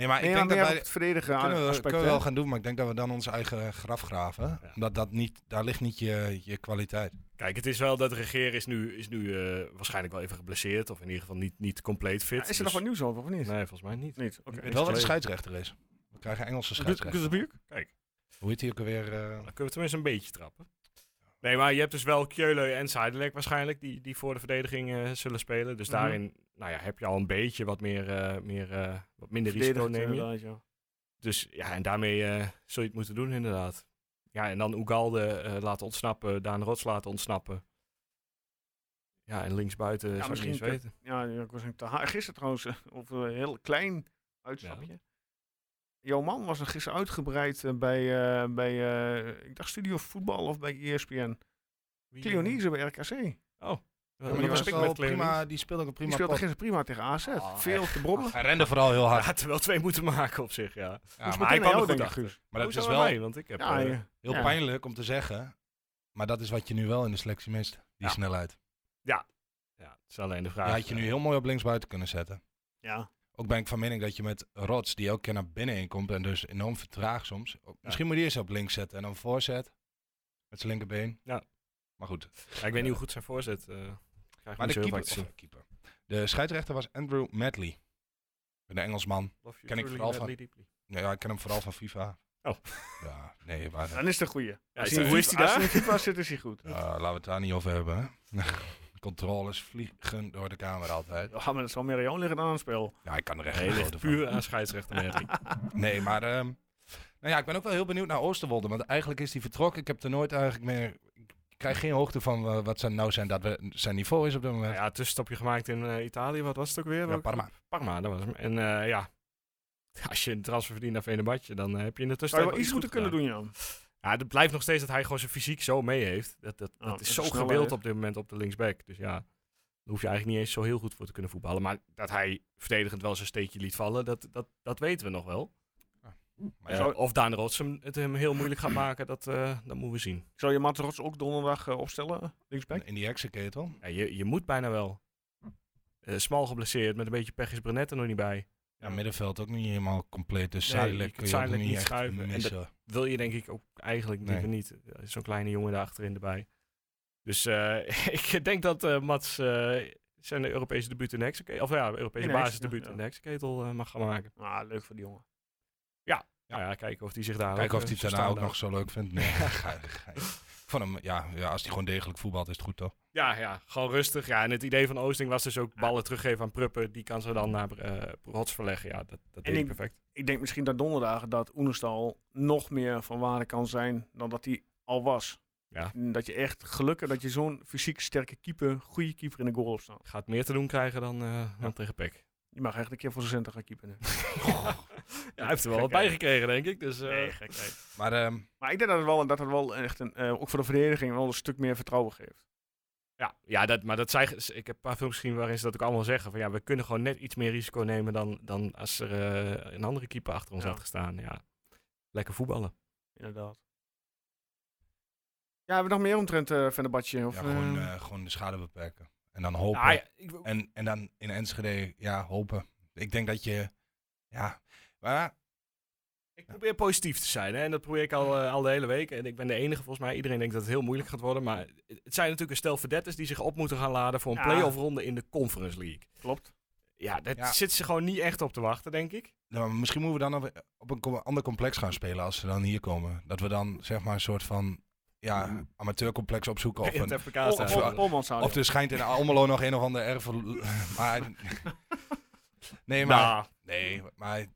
maar ik maar denk meer dat op wij... het verdedigen kunnen we, aspect. kunnen we hè? wel gaan doen, maar ik denk dat we dan ons eigen graf graven. Ja. Omdat dat niet, daar ligt niet je, je kwaliteit. Kijk, het is wel dat regeren is nu, is nu eh, waarschijnlijk wel even geblesseerd. Of in ieder geval niet, niet compleet fit. Ja, is er nog dus- wat nieuws over of niet? Nee, volgens mij niet. Niet, oké. Ik weet wel wat de Gelezen. scheidsrechter is. We krijgen Engelse scheidsrechter. Kijk, dan Hoe heet die ook alweer? eh? kunnen we tenminste een beetje trappen. Nee, maar je hebt dus wel Keulen en Sidelek waarschijnlijk, die, die voor de verdediging eh, zullen spelen. Dus Mhm. daarin nou ja, heb je al een beetje wat, meer, eh, meer, eh, wat minder risico Verdedigend, eh, neem je. inderdaad, ja. Dus ja, en daarmee eh, zul je het moeten doen inderdaad. Ja, en dan Ugalde eh, laten ontsnappen, Daan Rots laten ontsnappen. Ja, en linksbuiten zou ik misschien niet eens kun- weten. Ja, ja, ik was in Te Haag- gisteren trouwens, eh, of een heel klein uitstapje. Jouw man was er gisteren uitgebreid eh, bij, eh, bij eh, ik dacht Studio Voetbal of bij E ESPN. Wie- Cleonise bij RKC. Ja, Ja, maar die, die was was was ik wel met prima, die speelde ook een Die prima speelde pot. gisteren prima Ah, tegen AZ. Oh, Veel te brobbelen. Hij rende vooral heel hard. Hij had er wel twee moeten maken op zich, ja. Ja, Moest maar meteen hij kwam naar jou er goed denken, achter. Guus. maar dat Hoezo is aan wel mij? want ik heb... Ja, eh, ja. heel Ja. pijnlijk om te zeggen. Maar dat is wat je nu wel in de selectie mist. Die Ja. snelheid. Ja, het is alleen de Die vraag. eh, had je nu heel mooi op linksbuiten kunnen zetten. Ja. Ook ben ik van mening dat je met Rots, die elke keer naar binnen in komt en dus enorm vertraagt soms. ook- Misschien moet je die eerst op links zetten en dan voorzet. Met zijn linkerbeen. Ja. Maar goed. Ja, ik weet niet hoe goed zijn voorzet. eh krijg Maar niet de zo keeper, heel vaak te zien. of, eh, keeper. De scheidsrechter was Andrew Medley. Een Engelsman. Love you Oh, ken ik truly, vooral van- madly, deeply. Ja, ja, ik ken hem vooral van FIFA. Oh. Ja, nee, maar... Dan is het een goeie. Ja, Als hij is hij- in hoe is FIFA- Ah. hij Als hij in daar? FIFA zit, is hij goed. Ja, laten we het daar niet over hebben, hè. Controles vliegen door de kamer altijd. Ja, maar dat zal meer aan jou liggen dan aan het spel. Ja, ik kan er echt Nee, een ligt grote van. puur aan scheidsrechtermerking. Nee, maar ehm, nou ja, ik ben ook wel heel benieuwd naar Oosterwolde. Want eigenlijk is hij vertrokken. Ik heb er nooit eigenlijk meer... Ik krijg geen hoogte van eh, wat zijn, nou zijn, dat zijn niveau is op dit moment. Nou ja, tussenstapje gemaakt in eh, Italië. Wat was het ook weer? Ja, Welk- Parma. Parma, dat was hem. En eh, ja, als je een transfer verdient naar Venebadje, dan eh, heb je in de Zou je tussentijd wel iets goed moeten kunnen gedaan. doen, Jan? Ja, het blijft nog steeds dat hij gewoon zijn fysiek zo mee heeft. Dat, dat, Oh, dat is en zo de snelheid. gewild op dit moment op de linksback. Dus ja, daar hoef je eigenlijk niet eens zo heel goed voor te kunnen voetballen. Maar dat hij verdedigend wel zijn steekje liet vallen, dat, dat, dat weten we nog wel. Maar Eh, zou- of Daan Rots hem, het hem heel moeilijk gaat maken, dat, eh, dat moeten we zien. Zou je Matros ook donderdag eh, opstellen, linksback? In die heksenketel. Ja, je, je moet bijna wel. Eh, smal geblesseerd, met een beetje pech is Brenet er nog niet bij. Ja, middenveld ook niet helemaal compleet. Dus Nee, Zadelijk je kunt kun je ook Zadelijk niet niet echt schuiven. En dat- missen. wil je denk ik ook eigenlijk Nee. liever niet. Er is Zo'n kleine jongen daar achterin erbij. Dus eh, ik denk dat eh, Mats eh, zijn Europese debuut in de heksenketel, of ja, Europese In de basisdebuut heksen- ja. in de heksenketel eh, mag gaan maken. Ah, leuk voor die jongen. Ja. Nou ja, kijken of hij zich daar Kijken of ook, eh, hij zo het daarna ook staande nog zo leuk vindt. Nee, gein, gein. Ik vond hem, ja, ja, als hij gewoon degelijk voetbalt, is het goed toch? Ja, ja, gewoon rustig. Ja, en het idee van Oosting was dus ook ballen teruggeven aan Pruppen. Die kan ze dan naar eh Rots verleggen. Ja, dat, dat deed hij ik- perfect. Ik denk misschien dat donderdag dat Oenestal nog meer van waarde kan zijn dan dat hij al was. Ja. En Dat je echt gelukkig dat je zo'n fysiek sterke keeper, goede keeper in de goal opstaat. Gaat meer te doen krijgen dan, eh, dan tegen Peck. Je mag echt een keer voor zijn centen gaan keeperen. Ja, hij heeft er wel Gek, wat bij gekregen, denk ik. Dus, eh, gek. nee. Maar ehm, Maar ik denk dat het wel, dat het wel echt een, eh, ook voor de verdediging wel een stuk meer vertrouwen geeft. Ja, ja dat, maar dat zij, ik heb een paar films gezien waarin ze dat ook allemaal zeggen. Van ja, we kunnen gewoon net iets meer risico nemen dan, dan als er eh, een andere keeper achter ons Ja. had gestaan. Ja. Lekker voetballen. Inderdaad. Ja, hebben we nog meer omtrent eh Fenerbahce? Of, ja, gewoon, eh, eh, gewoon de schade beperken. En dan hopen. Ah, ja, ik- en, en dan in Enschede, ja, hopen. Ik denk dat je, ja, maar ik probeer positief te zijn hè, en dat probeer ik al, eh, al de hele week. En ik ben de enige volgens mij. Iedereen denkt dat het heel moeilijk gaat worden. Maar het het zijn natuurlijk een stel verdetters die zich op moeten gaan laden voor een Ja. play-off ronde in de Conference League. Klopt. Ja, daar Ja. zitten ze gewoon niet echt op te wachten, denk ik. nou, misschien moeten we dan op, op een com- ander complex gaan spelen als ze dan hier komen. Dat we dan, zeg maar, een soort van, ja, amateurcomplex opzoeken. Of, In het een, FK Of, stadion. of- of er schijnt in Almelo nog een of ander erf. Maar, nee, maar... Nou, Nee, maar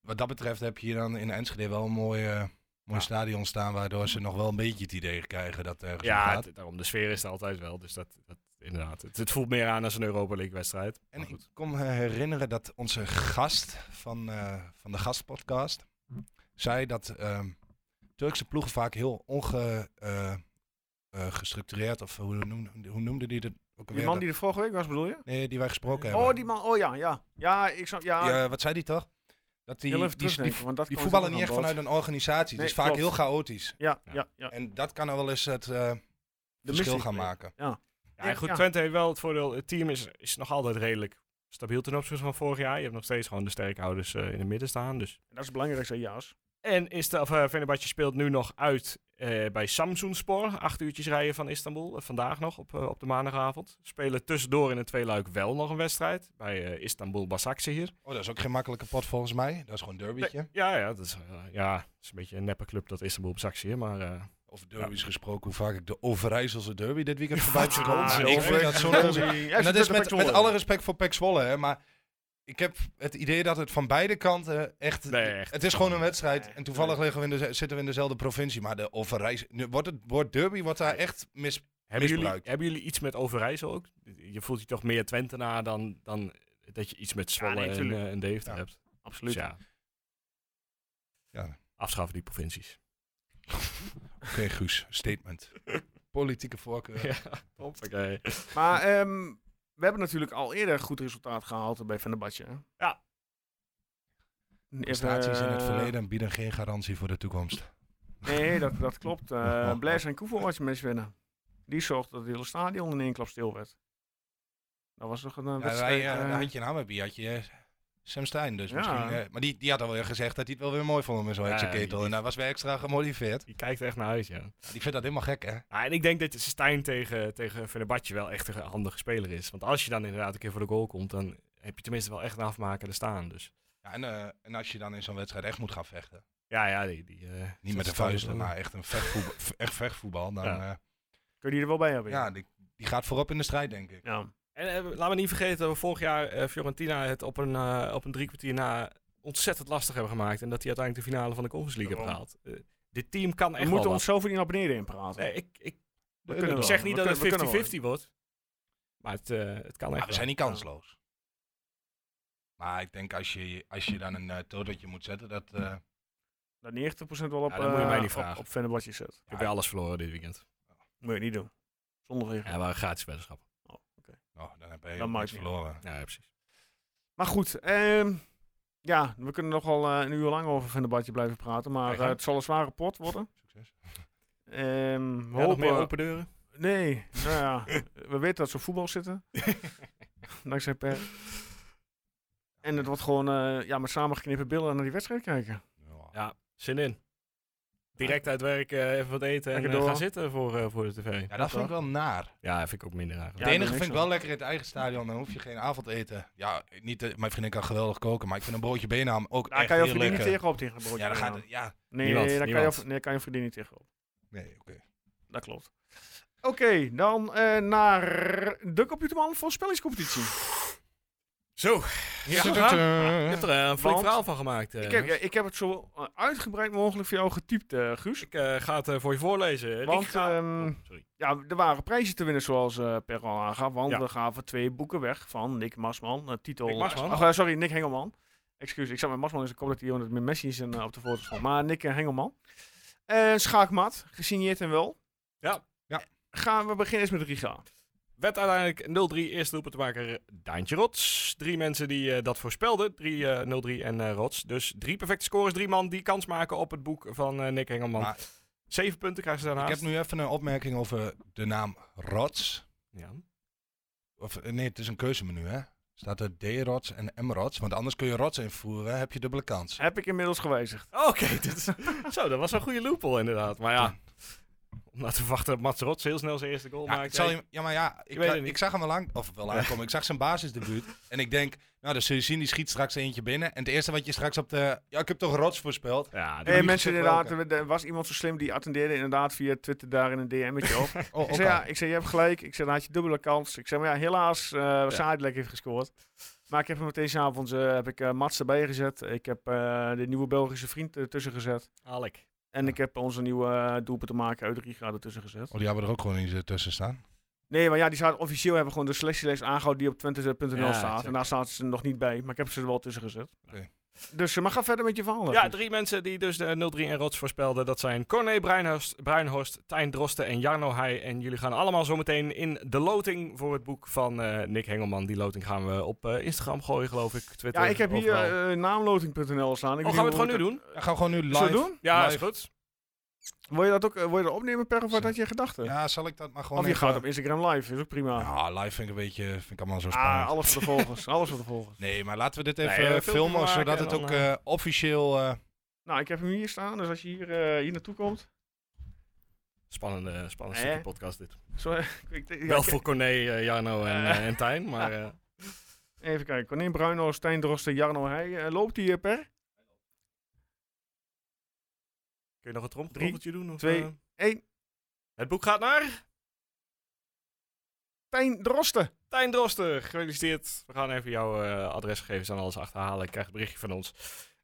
wat dat betreft heb je hier dan in Enschede wel een mooi, eh, mooi Ja. stadion staan, waardoor ze nog wel een beetje het idee krijgen dat er ergens om Ja, gaat. het- daarom de sfeer is er altijd wel. Dus dat, dat inderdaad. Het, het voelt meer aan als een Europa League wedstrijd. En Maar ik goed. kon me herinneren dat onze gast van, eh, van de gastpodcast Mhm. zei dat ehm, Turkse ploegen vaak heel ongestructureerd, of hoe noemde, hoe noemde die dat ook Die alweer? man die er vorige week was, bedoel je? Dat- nee, die wij gesproken hebben. Oh, die man. Oh ja, ja. Ja, ik snap. Ja, Ja, wat zei die toch? Dat die, heel die, even die, terugdenken. want dat die kwam voetballen toen niet echt aan bod. vanuit een organisatie. Nee, het is vaak klopt. heel chaotisch. Ja, ja, ja. En dat kan er wel eens het... eh, De verschil missie- gaan maken. Ja, en goed, ja. Twente heeft wel het voordeel. Het team is, is nog altijd redelijk stabiel ten opzichte van vorig jaar. Je hebt nog steeds gewoon de sterkhouders eh in het midden staan. Dus. Dat is het belangrijkste, ja's. En Ista- of, eh, Fenerbahce speelt nu nog uit eh, bij Samsunspor. Acht uurtjes rijden van Istanbul. Eh, vandaag nog op, eh, op de maandagavond. Spelen tussendoor in het tweeluik wel nog een wedstrijd. Bij eh, Istanbul Basakse hier. Oh, dat is ook geen makkelijke pot volgens mij. Dat is gewoon derbytje. Ja, ja, dat is, eh, ja, dat is een beetje een neppe club dat Istanbul Basakse hier. Maar eh, Over derbies gesproken, hoe vaak ik de Overijsselse derby dit weekend voorbij heb Ah, gekomen. ik Ik vind dat zo'n onzin. En dat is met, met alle respect voor Pek Zwolle, hè, maar ik heb het idee dat het van beide kanten echt... Nee, echt. Het is gewoon een wedstrijd Nee, en toevallig liggen we in de, zitten we in dezelfde provincie. Maar de Overijssel... nu Wordt het woord derby wordt daar echt mis... Hebben jullie, Misbruikt. hebben jullie iets met Overijssel ook? Je voelt je toch meer Twentenaar dan, dan dat je iets met Zwolle nee, en, tuurlijk. eh, en Deventer Ja, hebt. Dus Absoluut. ja, Ja, afschaffen die provincies. oké Guus, statement. Politieke voorkeur. Oké. Maar ehm, we hebben natuurlijk al eerder goed resultaat gehaald bij Fenerbahce. hè? Ja. Even, Prestaties in het eh, verleden bieden geen garantie voor de toekomst. Nee, dat, dat klopt. Oh, Eh oh. Blaise en Koevo was je mensen winnen. Die zorgde dat het hele stadion in één klap stil werd. Dat was toch een eh, Ja, daar, wedstrijd... eh, eh, daar had je een Hammerby, had je eh, Sam Stein dus Ja. misschien. eh, maar die, die had alweer gezegd dat hij het wel weer mooi vond met zo'n Ja, heksenketel. die- En daar was weer extra gemotiveerd. Je kijkt er echt naar uit, ja. Die vindt dat helemaal gek, hè? Ja, en ik denk dat Stijn tegen, tegen Fenerbahce wel echt een handige speler is. Want als je dan inderdaad een keer voor de goal komt, dan heb je tenminste wel echt een afmaker te staan. Dus Ja, en, eh, en als je dan in zo'n wedstrijd echt moet gaan vechten. ja, ja, die... die eh, Niet met de dat- vuisten, maar echt een vechtvoetbal. v- echt vechtvoetbal dan, Ja. ja, Kun je die er wel bij hebben? ja die, die gaat voorop in de strijd, denk ik. ja. En eh, laat me niet vergeten dat we vorig jaar eh, Fiorentina het op een, eh, op een drie kwartier na ontzettend lastig hebben gemaakt. En dat die uiteindelijk de finale van de Conference League hebben Daarom. gehaald. Eh, dit team kan We echt moeten wel ons zoveel niet naar beneden in praten. wat. Nee, ik, ik, we ik kunnen wel. zeg We niet kunnen- dat we kunnen wel. het 50-50 wordt. Maar het, eh, het kan Maar echt we zijn wel. niet kansloos. Maar ik denk als je, als je dan een uh, tototje moet zetten, dat... eh, Dat 90% wel op, Ja, dat moet je mij eh, niet op- vragen. op Fenerbahce zet. Ik heb weer alles verloren dit weekend. Moet je niet doen. Zonder regel. Ja, waren gratis weddenschappen. oh, dan heb je heel Dat maakt niks niet verloren. Ja, ja, precies. Maar goed, ehm, ja, we kunnen nogal eh een uur lang over Fenerbahce blijven praten. Maar Ga je eh, gang. het zal een zware pot worden. Succes. Ehm, we Ja, nog hopen... meer open deuren? Nee, nou ja, we weten dat ze op voetbal zitten. Dankzij Per. En het wordt gewoon eh, ja, met samengeknippen billen naar die wedstrijd kijken. Ja. Ja, zin in. Direct uit werk, eh, even wat eten en Lekker eh, door. gaan zitten voor, eh, voor de tv. Ja, dat vind ik wel naar. Ja, vind ik ook minder eigenlijk. Ja, Het doe niks enige vind ik aan. wel lekker in het eigen stadion, dan hoef je geen avondeten. Ja, niet, dat- mijn vriendin kan geweldig koken, maar ik vind een broodje benam ook Daar echt kan je heel vriendin niet lekker. tegenop tegen een broodje. ja, dan gaat banaan. het, ja. nee, niemand, daar kan je, niemand. nee, daar kan je vriendin niet tegenop. Nee, oké. Dat klopt. Oké, dan eh, naar de computerman voorspellingscompetitie. Eh, Zo, ja. je hebt er eh, een flink Want- verhaal van gemaakt. eh. Ik heb, ja, ik heb het zo eh, uitgebreid mogelijk voor jou getypt, eh, Guus. Ik eh, ga het eh, voor je voorlezen. Want, Ik ga- ehm, Oh, sorry. Ja, er waren prijzen te winnen, zoals eh Per al aangaf. Want Ja. we gaven twee boeken weg van Nick Marsman. eh, titel... Nick Marsman? Ach, eh, sorry, Nick Hengelman. Excuus, ik zat met Marsman, dus ik hoop dat hij ook met Messi is en, eh, op de foto stond. Maar Nick eh, Hengelman. Eh, schaakmat, gesigneerd en wel. Ja. Ja. Eh, Gaan we beginnen eens met Riga. Werd uiteindelijk 0-3 eerste doelpunt te maken Daantje Rots. Drie mensen die eh, dat voorspelden. 3, eh, 0-3 en eh, Rots. Dus drie perfecte scores. Drie man die kans maken op het boek van eh, Nick Engelman. Maar- Zeven punten krijgen ze Ik daarnaast. heb nu even een opmerking over de naam Rots. Ja. Of, eh, nee, het is een keuzemenu, hè. Staat er D-Rots en M-Rots, want anders kun je Rots invoeren, heb je dubbele kans. Heb ik inmiddels gewijzigd. Oké, dit is... zo, dat was wel een goede loophole inderdaad. Maar ja, om nou te verwachten dat Mats Rots heel snel zijn eerste goal Ja, maakt. eh, ik zal Hey, je- ja, maar ja, ik, weet la- het niet. ik zag hem wel, aan, of wel aankomen. Ik zag zijn basisdebuut. En ik denk, nou, dus zul je zien, die schiet straks eentje binnen. En het eerste wat je straks op de... Ja, ik heb toch rots voorspeld. Ja, Hé die- Hey, hey, niet mensen, gesproken. inderdaad, er er was iemand zo slim die attendeerde inderdaad via Twitter daar in een DM'tje op. Oh, Ik ook zei, al. ja, ik zei, je hebt gelijk. Ik zei, dan had je dubbele kans. Ik zei, maar ja, helaas, eh Sadilek heeft gescoord. Maar ik heb hem meteen s'avonds eh heb ik eh, Mats erbij gezet. Ik heb eh, de nieuwe Belgische vriend ertussen gezet. Alek. En Ja. ik heb onze nieuwe eh, doelpunt te maken uit Riga ertussen gezet. Oh, die hebben er ook gewoon in tussen staan. Nee, maar ja, die staat officieel hebben we gewoon de selectielijst aangehouden die op twente.nl Ja, staat. En exact. daar staat ze nog niet bij, maar ik heb ze er wel tussen gezet. Oké. Dus, eh, maar ga verder met je verhaal. Ja, Guus. drie mensen die dus de 0-3 en rots voorspelden. Dat zijn Corné Bruinhorst, Bruinhorst Tijn Drosten en Jarno Heij. En jullie gaan allemaal zometeen in de loting voor het boek van eh, Nick Hengelman. Die loting gaan we op eh, Instagram gooien, geloof ik. Twitter, ja ik heb hier overal. eh, naamloting.nl staan. Ik oh, weet niet gaan we het hoe gewoon nu doen? Ja, gaan we gewoon nu live. Zullen we doen? Ja, live. is goed. Wil je dat ook eh, wil je dat opnemen, Per, of wat Zo. had je in gedachten? Ja, zal ik dat maar gewoon Of je even- eh, gaat op Instagram live, is ook prima. Ja, live vind ik een beetje... Vind ik allemaal zo spannend. Ah, alles voor de volgers. alles voor de volgers. Nee, maar laten we dit Nee, even eh, eh, filmpje filmen, maken zodat en het dan, ook eh, eh, officieel... eh, Nou, ik heb hem hier staan, dus als je hier, eh, hier naartoe komt. Spannende, spannende Eh? stukje podcast dit. Zo, ik, denk- ja, Wel ik- voor Corné, eh, Jarno en, Eh. eh, en Tijn, maar... eh, Even kijken. Corné Bruino, Stijn Drosten, Jarno Heij. Eh, loopt hij per? Kun je nog een trompeteltje doen? Of, twee, eh? één. Het boek gaat naar Stijn Drosten. Tijn Drosten. Gefeliciteerd. We gaan even jouw eh, adresgegevens en alles achterhalen. Ik krijg een berichtje van ons.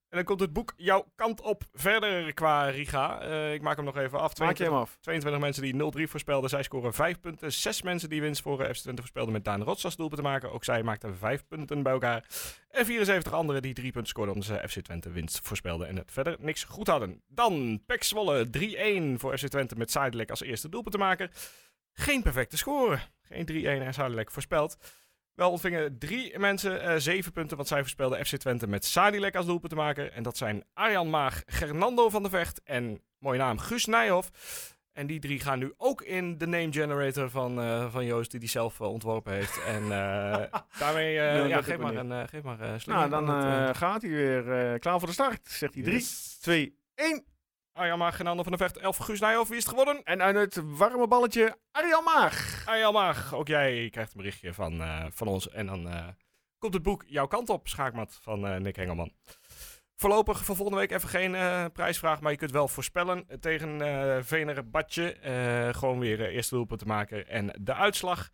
En dan komt het boek jouw kant op verder qua Riga. Eh, ik maak hem nog even af. Maak je hem af. 22 mensen die 0-3 voorspelden, zij scoren 5 punten. 6 mensen die winst voor eh, FC Twente voorspelden met Daan Rots als doelpunt te maken. Ook zij maakten 5 punten bij elkaar. En 74 anderen die 3 punten scoorden omdat ze FC Twente winst voorspelden en het verder niks goed hadden. Dan Pek Zwolle 3-1 voor FC Twente met Sidelek als eerste doelpunt te maken. Geen perfecte score. Geen 3-1 en Sidelek voorspeld. Wel ontvingen drie mensen eh, zeven punten, want zij voorspelden FC Twente met Sadilek als doelpunt te maken. En dat zijn Arjan Maag, Gernando van der Vecht en, mooie naam, Guus Nijhoff. En die drie gaan nu ook in de name generator van, eh, van Joost, die die zelf eh, ontworpen heeft. en eh, daarmee, eh, dat ja, heb geef, ik maar niet. een, eh, geef maar een Nou, dan eh, gaat hij weer eh, klaar voor de start. Zegt hij 3, 2, 1. Arjan Maag en Ander van de Vecht, 11 Guus Nijhoff, wie is het geworden? En uit het warme balletje Arjan Maag. Arjan Maag, Ah, ook jij krijgt een berichtje van, eh, van ons. En dan eh, komt het boek jouw kant op, Schaakmat, van eh, Nick Engelman. Voorlopig voor volgende week even geen eh, prijsvraag, maar je kunt wel voorspellen eh, tegen eh Venere Badje. eh, gewoon weer eh, eerste doelpunt te maken en de uitslag.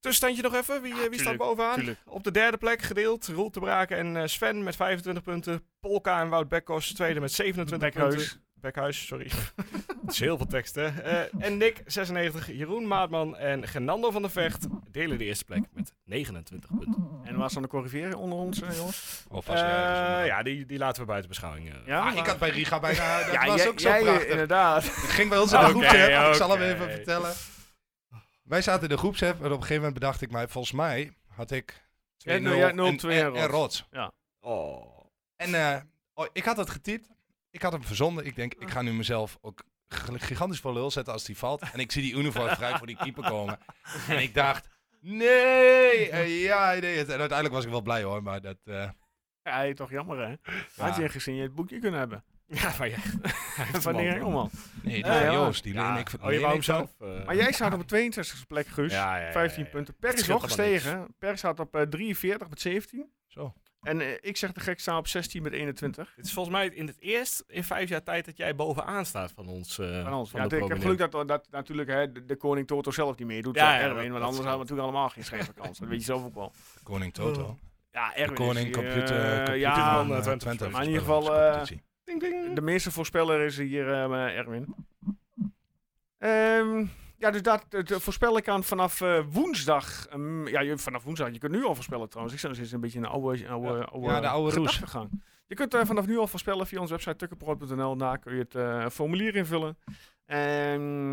Tussenstandje nog even, wie, eh, wie staat Ah, tuurlijk, bovenaan? tuurlijk. Op de derde plek gedeeld, Roel te Braken en eh, Sven met 25 punten. Polka en Wout Bekkos, tweede met 27 punten. Bekhuis. Bekhuis, sorry. Het is heel veel teksten. Eh, en Nick, 96, Jeroen Maatman en Genando van der Vecht delen de eerste plek met 29 punten. En waar is dan de corrigeren onder ons, eh, jongens? Of Eh, was er ergens een- ja, die, die laten we buiten beschouwing. eh. Ja, Ah, ik had bij Riga bijna... Dat Ja, was jij- ook zo jij, eh, prachtig. inderdaad. Het ging bij ons in de Oké, groepsapp. Ik zal hem oké. even vertellen. Wij zaten in de groepsapp en op een gegeven moment bedacht ik mij... Volgens mij had ik 2-0 Ja, en, nou, ja, 0-2 en en, en rots. rots. Oh. En eh, oh, ik had dat getypt. Ik had hem verzonden. Ik denk, ik ga nu mezelf ook g- gigantisch voor lul zetten als die valt. En ik zie die uniform vrij voor die keeper komen. En ik dacht, nee! En ja, hij deed het. En uiteindelijk was ik wel blij hoor, maar dat... eh, Ja, hij is toch jammer, hè? Had je gezien je het boekje kunnen hebben? Ja, maar ja. Van die Engelman. Nee, die Eh, van ja. Joost, die leen Ja. ik... Oh, je leen wou hem ik zo. zelf? eh. Maar jij staat op de 62e plek, Guus. Ja, ja, ja, 15 ja, ja. punten. Per Het is wel scheelt allemaal niks. gestegen. hè? Per staat op eh, 43 met 17. Zo. En eh, ik zeg de gek, sta op 16 met 21. Het is volgens mij in het eerst in vijf jaar tijd dat jij bovenaan staat van ons. eh, Van ons. Van Ja, de ik heb geluk prominenten. dat, dat natuurlijk hè, de, de koning Toto zelf niet meedoet. Ja, Ja, ja, Erwin, dat- dat want anders scheelt. hadden we natuurlijk allemaal geen scheve kans. Dat weet je zelf ook wel. Koning Toto. Ja, Oh. Erwin de koning is, eh, computer, computer ja, van, eh, Twente Twente. Twente. Maar in ieder geval, eh, Competitie. Ding, ding. De meeste voorspeller is hier eh, Erwin. Ehm, ja, dus dat, dat voorspel ik aan vanaf eh, woensdag. Ehm, ja, je, vanaf woensdag. Je kunt nu al voorspellen trouwens. Ik zit nog steeds een beetje in de oude, oude, oude, Ja, de oude roes. gedachtegang. Je kunt eh, vanaf nu al voorspellen via onze website tukkenproot.nl. Daar kun je het eh, formulier invullen. Ehm,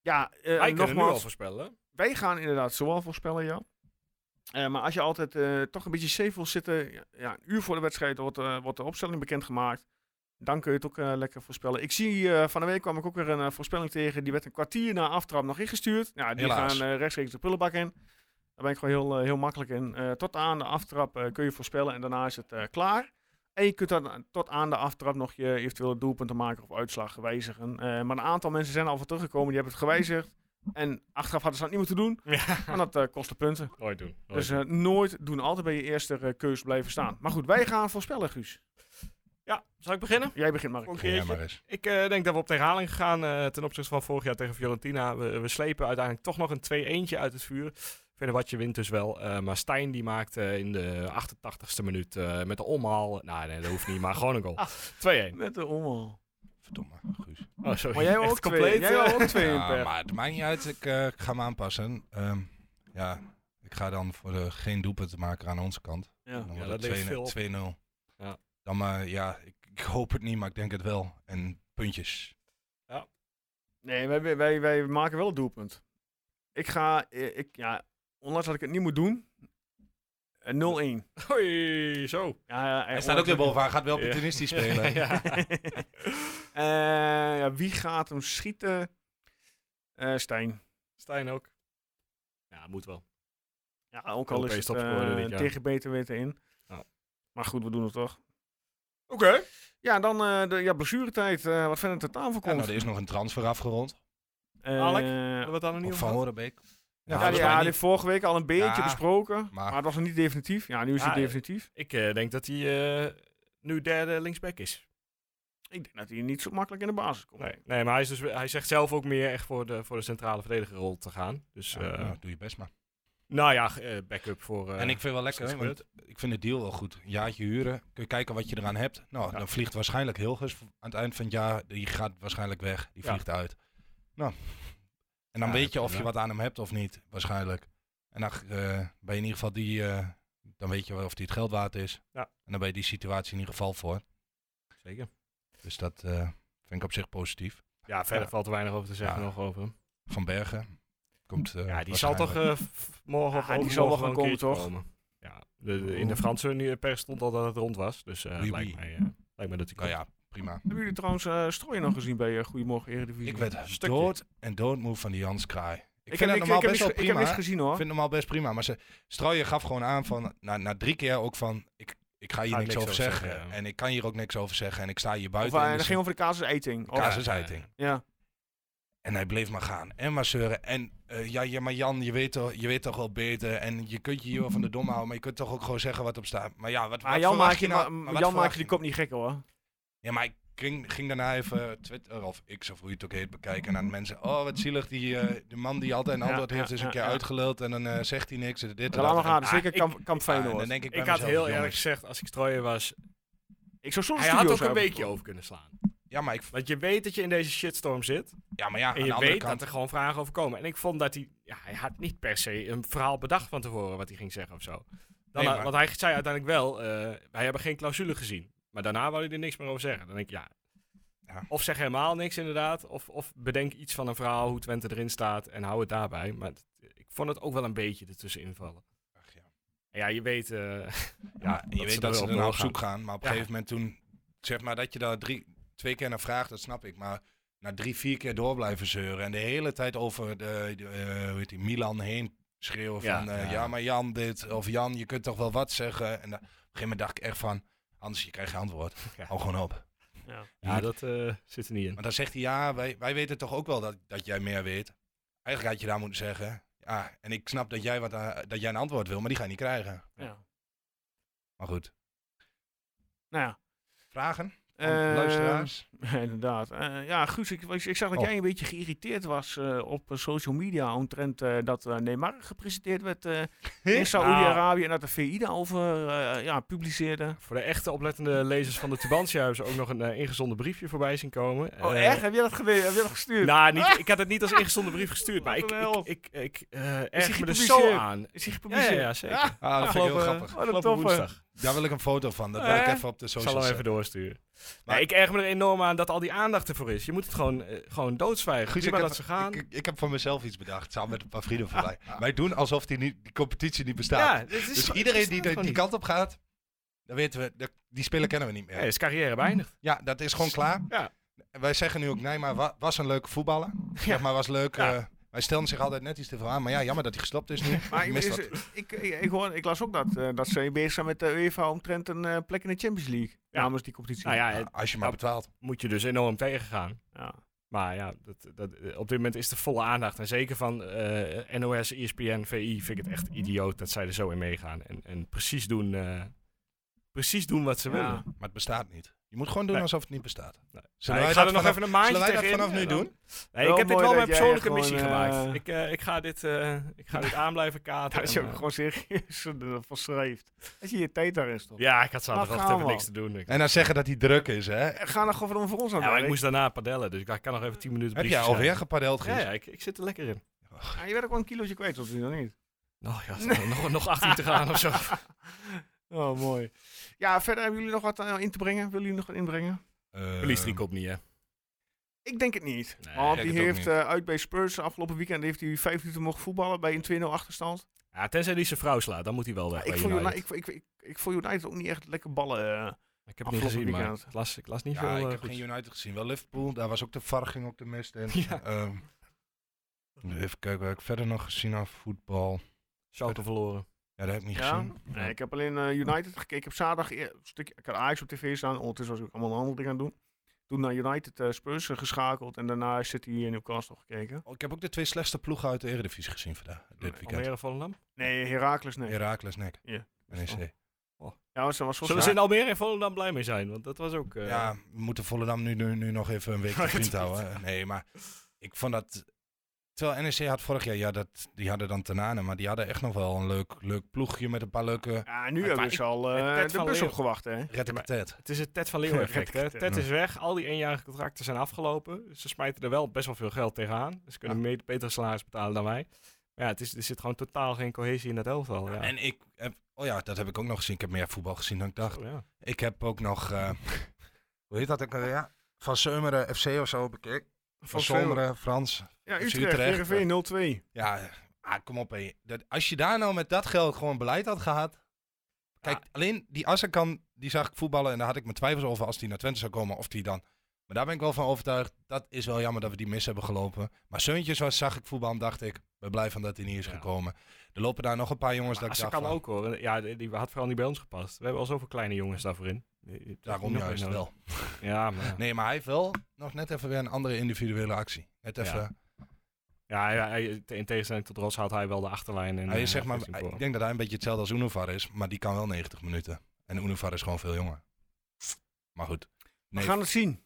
ja, eh, Wij kunnen nu al nogmaals. voorspellen. Wij gaan inderdaad zoal voorspellen, ja. Eh, maar als je altijd eh, toch een beetje safe wil zitten, ja, ja, een uur voor de wedstrijd wordt, eh, wordt de opstelling bekendgemaakt. Dan kun je het ook eh, lekker voorspellen. Ik zie, eh, van de week kwam ik ook weer een eh, voorspelling tegen. Die werd een kwartier na aftrap nog ingestuurd. Ja, die Helaas. gaan eh, rechtstreeks de prullenbak in. Daar ben ik gewoon heel, eh, heel makkelijk in. Eh, tot aan de aftrap eh, kun je voorspellen en daarna is het eh, klaar. En je kunt dan eh, tot aan de aftrap nog je eventuele doelpunten maken of uitslag wijzigen. Eh, maar een aantal mensen zijn al van teruggekomen, die hebben het gewijzigd. En achteraf hadden ze dat niet moeten doen. Ja, Oh, En dat eh, kostte punten. nooit doen. nooit Dus eh, nooit doen, altijd bij je eerste eh, keus blijven staan. Maar goed, wij gaan voorspellen, Guus. Ja, zal ik beginnen? Jij begint, Mark. Oké. Ja, maar eens. Ik eh, denk dat we op de herhaling gaan eh, ten opzichte van vorig jaar tegen Fiorentina. We, we slepen uiteindelijk toch nog een 2-1 uit het vuur. Fenerbahce wint dus wel. eh, maar Stijn die maakt eh, in de 88ste minuut eh, met de omhaal... Nou, nee, dat hoeft niet, maar gewoon een Ah. goal. 2-1. Met de omhaal. Verdomme, Guus. Oh, sorry. Maar jij wou Echt ook compleet. eh, twee. Jij wou ook twee in Ja, per. maar het maakt niet uit. Ik, eh, ik ga me aanpassen. Ehm, ja, ik ga dan voor de geen doelpunt te maken aan onze kant. Ja. Dan Ja, wordt dat het levert veel op. 2-0. Ja. Dan maar, ja, ik, ik hoop het niet, maar ik denk het wel. En puntjes. Nee, wij, wij, wij maken wel het doelpunt. Ik ga, eh, ik, ja, ondanks dat ik het niet moet doen, eh, 0-1. Hoi, zo. Ja, Hij staat ook weer bovenaan, gaat wel Ja. opportunistisch spelen. ja. Eh, ja, wie gaat hem schieten? Eh, Stijn. Stijn ook. Ja, moet wel. Ja, ook al is Europees het topscorer dit eh, jaar. tegen beter weten in. Ja. Maar goed, we doen het toch. Oké. Ja, dan eh de ja, blessuretijd. eh, wat verder ter tafel Ja, komt. nou, er is nog een transfer afgerond. Eh, Alec? Hebben we het daar nog niet Op over Van gehad? Horenbeek. Nou, ja, volgens die mij ja, die niet. vorige week al een beetje Ja, besproken. Maar, maar- het was nog niet definitief. Ja, nu is het Ja, definitief. Ik eh, denk dat hij eh, nu derde linksback is. Ik denk dat hij niet zo makkelijk in de basis komt. Nee, nee maar hij, is dus, hij zegt zelf ook meer echt voor de, voor de centrale verdedigerrol te gaan. Dus, Ja, eh, nou, doe je best maar. Nou ja, g- eh, backup voor. eh, en ik vind wel is lekker, het want ik vind de deal wel goed. Een jaartje huren, kun je kijken wat je eraan hebt. Nou, Ja. dan vliegt waarschijnlijk Hilgers v- aan het eind van het jaar. Die gaat waarschijnlijk weg, die Ja. vliegt uit. Nou, en dan Ja, weet je of je prima. wat aan hem hebt of niet, waarschijnlijk. En dan eh, ben je in ieder geval die, eh, dan weet je wel of die het geld waard is. Ja. En dan ben je die situatie in ieder geval voor. Zeker. Dus dat eh, vind ik op zich positief. Ja, verder Ja. valt er weinig over te zeggen Ja. nog over hem. Van Bergen komt eh, Ja, die zal toch waarschijnlijk- eh, f- morgen of Ja, die overmorgen zal wel een gaan komen, keertje toch? komen. Ja, de, de- in de Franse nu- pers stond al dat het rond was. Dus eh, Oui, lijkt, oui. mij, eh, lijkt mij dat hij Nou komt. ja, prima. Hebben jullie trouwens eh strooien nog gezien bij eh, Goedemorgen Eredivisie? Ik werd Stukje. dood en doodmoe van die Jans Kraai. Ik, Ik vind heb het niks- normaal ik heb best wel niks- ik heb prima. niks gezien hoor. Ik vind het normaal best prima. Maar ze, Strooijer gaf gewoon aan van, na, na drie keer ook van, ik, ik ga hier Ga ik niks over zeggen. ja. En ik kan hier ook niks over zeggen. En ik sta hier Of, buiten. eh, en dat ging over de casusiting. Oh, casusuiting. ja. En hij bleef maar gaan. En maar zeuren. En eh, ja, ja, maar Jan, je weet, toch, je weet toch wel beter. En je kunt je hier wel van de dom houden. Maar je kunt toch ook gewoon zeggen wat op staat. Maar ja, wat, Maar wat Ah, Jan verwacht maak je, nou? ma- maar Jan wat maak verwacht je die kop niet gek hoor. Ja, maar ik ging, ging daarna even Twitter of X of hoe je het ook heet bekijken. En aan de mensen, oh wat zielig, die, eh, de man die altijd een Ja, antwoord heeft ja, is een ja, keer ja. uitgeluld. En dan eh, zegt hij niks. en Dit, Ja, laat maar gaan. en, Zeker ik- kamp, kamp ah, en Feyenoord. dan denk ik bij Ik had mezelf, heel eerlijk jongens. gezegd, als ik strooien was, Ik zou soms hij had ook een beetje over kunnen slaan. Ja, maar, ik, Want je weet dat je in deze shitstorm zit. ja, maar ja, En aan de je andere weet kant. dat er gewoon vragen over komen. En ik vond dat hij... Ja, hij had niet per se een verhaal bedacht van tevoren wat hij ging zeggen of zo. Dan, Nee, maar- Want hij zei uiteindelijk wel, eh, wij hebben geen clausule gezien. Maar daarna wou hij er niks meer over zeggen. Dan denk ik, ja... Ja. Of zeg helemaal niks inderdaad. Of, of bedenk iets van een verhaal, hoe Twente erin staat. En hou het daarbij. Maar het- ik vond het ook wel een beetje ertussen invallen. Ach, ja. En ja, je weet... eh, Ja, en je dat weet ze dat er ze wel er nou op doorgaan. zoek gaan. Maar op een Ja. gegeven moment toen, zeg maar dat je daar drie, twee keer naar vraagt, dat snap ik. Maar na drie, vier keer door blijven zeuren. En de hele tijd over de, de, eh, hoe heet die, Milan heen schreeuwen Ja, van, eh, ja. ja. maar Jan dit. Of Jan, je kunt toch wel wat zeggen. En da- op een gegeven moment dacht ik echt van, anders je krijgt geen antwoord. Ja. Hou gewoon op. ja, dat eh, zit er niet in. Maar dan zegt hij, ja, wij, wij weten toch ook wel dat, dat jij meer weet. Eigenlijk had je daar moeten zeggen. Ja, en ik snap dat jij, wat, aan- dat jij een antwoord wil, maar die ga je niet krijgen. Ja. Maar goed. Nou ja. Vragen? van eh, luisteraars? Inderdaad. Eh, ja, Guus, ik, ik, ik zag dat Oh. jij een beetje geïrriteerd was eh, op eh, social media omtrent eh, dat eh, Neymar gepresenteerd werd eh, in Saoedi-Arabië Nou. en dat de VI daarover eh ja, publiceerde. Voor de echte oplettende lezers van de Tubantia hebben ze ook nog een eh, ingezonden briefje voorbij zien komen. Oh, Eh, echt? Heb je dat, gede- heb je dat gestuurd? Ah! Nou, Ah! niet, ik had het niet als ingezonden brief gestuurd, maar ik, Wat een ik, ik, ik eh, erg me er gepubliceerd? zo aan. Is hij Ja, ja, gepubliceerd? ja, zeker. Ah, Ah, dat vind ik heel Afgelopen- grappig. wat een Afgelopen toffe. woensdag. Daar wil ik een foto van. Dat Eh, wil ik even op de Ik socials zal hem even zetten. doorsturen. Maar- Nee, ik erger me er enorm aan dat al die aandacht ervoor is. Je moet het gewoon, eh, gewoon doodzwijgen. Guus, Guus, ik maar heb, dat ze gaan. Ah. Ik, ik heb van mezelf iets bedacht, samen met een paar vrienden van mij. Wij doen alsof die, niet, die competitie niet bestaat. dit is dus gewoon- iedereen ik die snap het de- die gewoon kant op gaat, dan weten we, dat- die spelen kennen we niet meer. niet. Nee, is carrière beëindigd. Ja, dat is gewoon klaar. Ja. En Wij zeggen nu ook, nee, maar wa- was een leuke voetballer. Zeg maar, was leuk. Ja. eh, wij stelden zich altijd net iets te veel aan. Maar ja, jammer dat hij gestopt is nu. Maar ik ik, mis is- dat. ik, ik, ik hoor, ik las ook dat, eh, dat ze bezig zijn met de UEFA omtrent een eh, plek in de Champions League. Ja. Namens die competitie. Nou ja, het Als je maar Ja. betaalt. moet je dus enorm tegengaan. Ja. Maar ja, dat, dat, eh, op dit moment is de volle aandacht. En zeker van eh, NOS, ESPN, VI vind ik het echt idioot dat zij er zo in meegaan. En, en precies, doen, eh, precies doen wat ze Ja. willen. Maar het bestaat niet. Je moet gewoon doen Nee. alsof het niet bestaat. Nee. Zullen Nou, wij ik ga dat er nog vanaf- even een maandje zullen wij dat tegenin. vanaf nu Ja, dan- doen? Nee, Wel ik heb dit mooi wel dat mijn jij persoonlijke gewoon, missie eh, gemaakt. Ik, eh, ik, ga dit, eh, ik ga dit aan blijven katen. Dat en, je ook eh, gewoon serieus verschrijft. Als je je tijd daarin stopt. ja, ik had Maar zaterdag gaan even we. niks te doen. Ik, En dan zeggen dat hij druk is, hè? Ga nog gewoon voor ons aan het ja, maar ik werk. moest daarna padellen, dus ik dacht, ik kan nog even 10 minuten Heb jij briefjes alweer schrijven. gepadeld, Guus? Ja, ja ik, ik zit er lekker in. Ah, je werd ook wel een kilootje kwijt tot nu, dan niet? Nou ja, nog, nog 18 te gaan of zo. Oh, mooi. Ja, verder hebben jullie nog wat eh, in te brengen? Willen jullie nog wat inbrengen? Eh, Verlies die kop niet, hè? Ik denk het niet. Nee, ik Want denk die het ook heeft niet. eh, uit bij Spurs afgelopen weekend heeft hij vijf minuten mogen voetballen bij een 2-0 achterstand. Ja, tenzij die zijn vrouw slaat, dan moet hij wel weg. ik, bij vond United. United, ik, ik, ik, ik vond United ook niet echt lekker ballen. eh. Ik heb het niet Afgelopen gezien, maar weekend. ik las, ik las niet Ja, veel. ik eh, heb goeds. geen United gezien. Wel Liverpool, daar was ook de VAR ging ook de mist in. Ja. Ehm, even kijken waar ik verder nog gezien heb. Voetbal. Schalke verloren. Ja, dat heb ik niet Ja? gezien. Nee, ik heb alleen eh, United gekeken. Ik heb zaterdag eer- een stukje, ik had Ajax op tv staan. Ondertussen was ik allemaal andere dingen aan het doen. Toen naar United eh, Spurs eh, geschakeld en daarna City in Newcastle gekeken. Oh, ik heb ook de twee slechtste ploegen uit de Eredivisie gezien vandaag. Dit weekend. Almere Volendam? Nee, Heracles nee. Heracles nek. E Ja. NEC. Ja, was, was Zullen ze in Almere en Volendam blij mee zijn? Want dat was ook... eh, Ja, we moeten Volendam nu, nu, nu nog even een week te vriend houden. Nee, maar ik vond dat... Terwijl NEC had vorig jaar, ja, dat, die hadden dan Tenane, maar die hadden echt nog wel een leuk, leuk ploegje met een paar leuke Ja, nu Maar hebben ik- ze al eh, het Ted de van bus Leeuwen. opgewacht, hè? rettepatet. Het is het Ted van Leeuwen effect. hè. Red- Ted is weg, al die eenjarige contracten zijn afgelopen. Ze smijten er wel best wel veel geld tegenaan. Ze kunnen me- betere salaris betalen dan wij. Maar ja, het is, er zit gewoon totaal geen cohesie in dat elftal. Ja. En ik heb, oh ja, dat heb ik ook nog gezien. Ik heb meer voetbal gezien dan ik dacht. Oh, ja. Ik heb ook nog, eh, hoe heet dat ook alweer? Ja, Van Seumeren FC of zo bekeken. Van Seumeren, Frans. Ja, FC Utrecht, Utrecht, Heerenveen 0-2. Ja, ah, kom op hé. Dat, als je daar nou met dat geld gewoon beleid had gehad. Kijk, alleen die Assakan, die zag ik voetballen en daar had ik mijn twijfels over als die naar Twente zou komen of die dan. Maar daar ben ik wel van overtuigd. Dat is wel jammer dat we die mis hebben gelopen. Maar Seuntjes was, zag ik voetbal en dacht ik, ben blij van dat hij niet is Ja. gekomen. Er lopen daar nog een paar jongens Dus dat ik Ze dacht kan van, ook hoor. Ja, die, die had vooral niet bij ons gepast. We hebben al zoveel kleine jongens daarvoor in. daarom Nog juist een wel. nodig. Ja, maar, Nee, maar hij heeft wel nog net even weer een andere individuele actie. Net Ja. even, ja hij, hij- in tegenstelling tot Ros haalt hij wel de achterlijn. En, hij eh, is zeg maar, geeft hem voor. ik denk dat hij een beetje hetzelfde als Unovar is, maar die kan wel 90 minuten. En Unovar is gewoon veel jonger. Maar goed. We Nee, gaan het zien.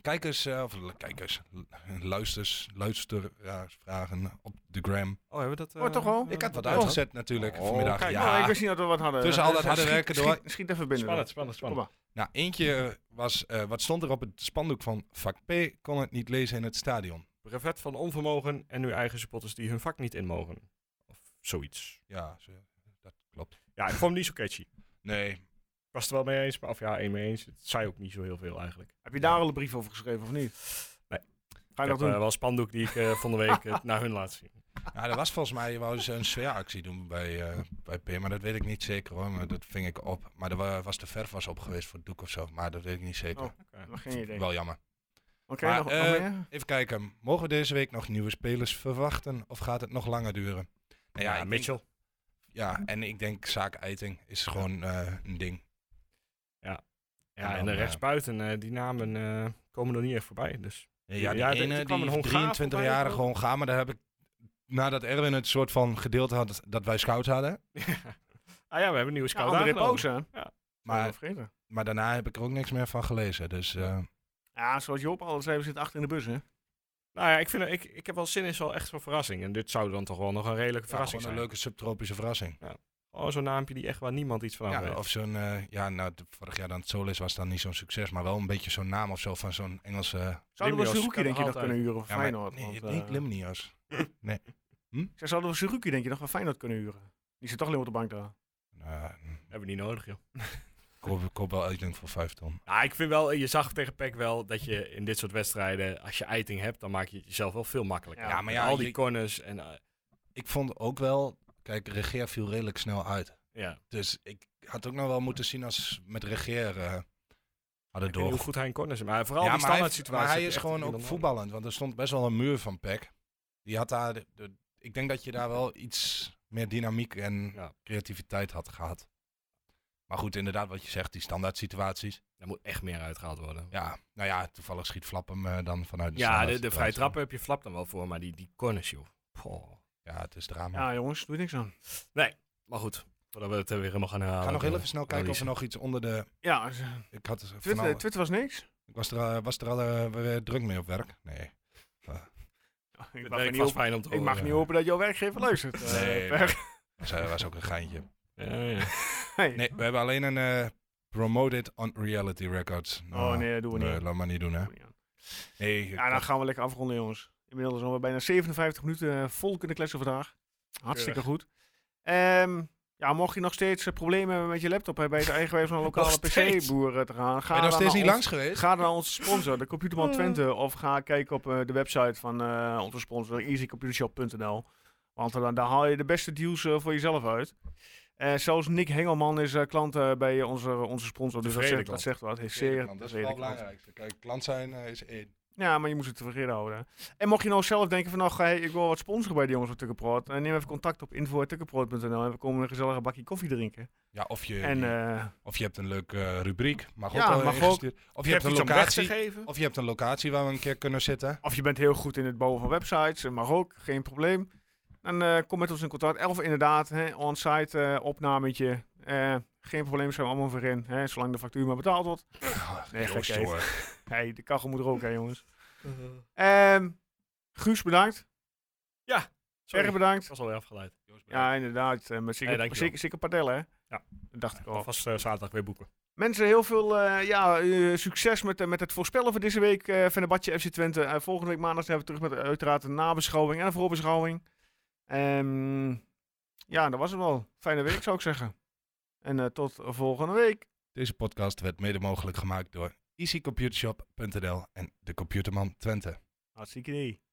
kijkers, eh, of l- kijkers, l- luisters, luisteraars vragen op de gram. Oh, hebben we dat? Oh, eh, toch wel? eh, Ik had wat dat gedaan? uitgezet natuurlijk Oh, vanmiddag. kijk, ja. Oh, ik wist niet dat we wat hadden. Tussen al dat Eh, harde schiet- werken door. Schiet, schiet even binnen. Spannend, spannend, Kom spannend. maar. Nou, eentje was, eh, wat stond er op het spandoek van vak P, kon het niet lezen in het stadion. Brevet van onvermogen en nu eigen supporters die hun vak niet in mogen. Of zoiets. Ja, ze- dat klopt. Ja, ik vond hem niet zo catchy. Ik Nee, was het wel mee eens, maar of ja, één mee eens. Het zei ook niet zo heel veel eigenlijk. Heb je daar al een brief over geschreven of niet? Nee. Ga je ik dat heb doen? eh, wel een spandoek die ik eh van de week eh, naar hun laat zien. nou, er was volgens mij wou ze een sfeeractie doen bij, eh, bij P, maar dat weet ik niet zeker hoor, maar dat ving ik op. Maar er wa- was de verf was op geweest voor het doek of zo, maar dat weet ik niet zeker. Oh, Oké. Nou Maar Geen idee. Oké, Wel jammer. Maar, nog, nog eh, meer? Even kijken, mogen we deze week nog nieuwe spelers verwachten of gaat het nog langer duren? Nou Ja, ik denk- Mitchell. ja, en ik denk zaak Eiting is gewoon eh, een ding. en Ja, en dan, de eh, rechtsbuiten, eh, die namen eh, komen er niet echt voorbij. Dus Ja, die Ja, er- ene, er kwam die een Hongaar 23-jarige voorbij. Hongaar, maar daar heb ik, nadat Erwin het soort van gedeeld had dat wij scout hadden, Ah ja, we hebben een nieuwe Ja, scout André aangenomen. Boos, hè? Maar... maar, vergeten. maar daarna heb ik er ook niks meer van gelezen. Dus eh, Ja, zoals Joop al zei, we zitten achter in de bus, hè? Nou ja, ik, vind, ik, ik heb wel zin in zo'n echt zo'n verrassing. En dit zou dan toch wel nog een redelijke ja, verrassing gewoon een zijn. leuke subtropische verrassing. Oh, zo'n naampje die echt waar niemand iets van Ja, af Oh, weet. of zo'n, eh, ja, nou, de- vorig jaar dan het Solis was dan niet zo'n succes, maar wel een beetje zo'n naam of zo van zo'n Engelse... Zouden we Limnios Suzuki, kan denk je, nog altijd. kunnen huren van ja, maar- Feyenoord? nee, Want, nee, eh, Limnios. ik zei, Zouden we Suzuki, denk je, nog van Feyenoord kunnen huren? Die zit toch alleen op de bank daar. Nou, Hebben we niet nodig, joh. ik koop, ik koop wel Eiting voor 5 ton. Nou, ik vind wel, je zag tegen PEC wel dat je in dit soort wedstrijden, als je eiting hebt, dan maak je het jezelf wel veel makkelijker. Ja, Ja, maar Met ja, al die je- corners en eh, Ik vond ook wel, kijk, Regeer viel redelijk snel uit. ja. Dus ik had ook nog wel moeten zien als met regeer eh hadden Ik weet niet hoe door. goed hij in corners is, maar vooral die maar hij, standaard heeft- situatie. maar hij is gewoon ook voetballend, want er stond best wel een muur van Peck. Die had daar, de- de- ik denk dat je daar wel iets meer dynamiek en Ja. creativiteit had gehad. Maar goed, inderdaad, wat je zegt, die standaard situaties. Daar moet echt meer uitgehaald worden. Ja, Ja, nou ja, toevallig schiet Flap hem eh, dan vanuit de de, standaard de vrije situatie. trappen heb je flap dan wel voor, maar die, die corners, joh. Poh. Ja, het is drama. Ja, jongens, doe je niks aan. Maar goed, voordat we het eh, weer helemaal gaan herhalen. Ik ga nog heel eh, even snel kijken of er analyse. nog iets onder de... Ja, dus, eh, Ik, had van Twitter, al- Twitter was niks. ik was er, al- was er al eh, weer druk mee op werk. Nee. Ik Het mag, er werkt niet vast hopen, fijn om te ik mag horen. niet hopen dat jouw werkgever luistert. eh, eh. Nee, Per. Dat was- eh, was ook een geintje. Ja, ja. Hey. Nee, we hebben alleen een eh, Promoted on Reality Records. Oh nee, dat doen we niet. Nee, laat maar niet doen, hè. Doen we niet aan. Nee, Ja, dan gaan we lekker afronden, jongens. Inmiddels zijn we bijna 57 minuten eh, vol kunnen kletsen vandaag. Hartstikke goed. Ehm, ja, mocht je nog steeds eh, problemen hebben met je laptop hè, bij het eigenwijs van een lokale Nog steeds? PC-boer eh, te gaan, ga ben je nog dan steeds naar niet ons- langs geweest? Ga dan naar onze sponsor, de Computerman Twente, of ga kijken op eh, de website van eh, onze sponsor, easycomputershop.nl. Want eh, dan daar haal je de beste deals eh, voor jezelf uit. Eh, zelfs Nick Hengelman is eh, klant eh, bij onze, onze sponsor, dus dat zegt, Tevreden dat klant. zegt wat. Hij is Zeker, zeer man, Dat is wel tevreden het klant. belangrijkste. Kijk, klant zijn eh, is één. Ja, maar je moet het tevreden houden. En mocht je nou zelf denken van, nou, hey, ik wil wat sponsoren bij de jongens van Tukkenproot. eh, Neem even contact op info.tukkenproot.nl en we komen een gezellige bakje koffie drinken. Ja, of je, En eh, of je hebt een leuke eh, rubriek. Mag ook Ja, wel mag ook. ingestuurd. Of je, hebt een iets om weg te locatie. geven? Of je hebt een locatie waar we een keer kunnen zitten. of je bent heel goed in het bouwen van websites, eh, mag ook, geen probleem. Dan eh, kom met ons in contact. Of inderdaad, hè, on-site eh, opnametje. Eh, geen probleem, zijn we allemaal voor in. Hè, zolang de factuur maar betaald wordt. Nee, Joost, gekheid. hoor. Hey, de kachel moet er ook, hè jongens. Ehm, Guus, bedankt. Sorry, Erg bedankt. ik was alweer afgeleid. Ja, inderdaad. eh, Met zeker, Hey, dankjewel. zeker, zeker padellen, hè? Ja. Dat dacht ik al. Alvast eh, zaterdag weer boeken. Mensen, heel veel eh, ja, eh, succes met, eh, met het voorspellen voor deze week eh, van de Badje FC Twente. Eh, volgende week maandag zijn we terug met eh, uiteraard een nabeschouwing en een voorbeschouwing. Ehm, ja, dat was het wel. Fijne week zou ik zeggen. En eh, tot volgende week. Deze podcast werd mede mogelijk gemaakt door easycomputershop.nl en de Computerman Twente. Hartstikke idee.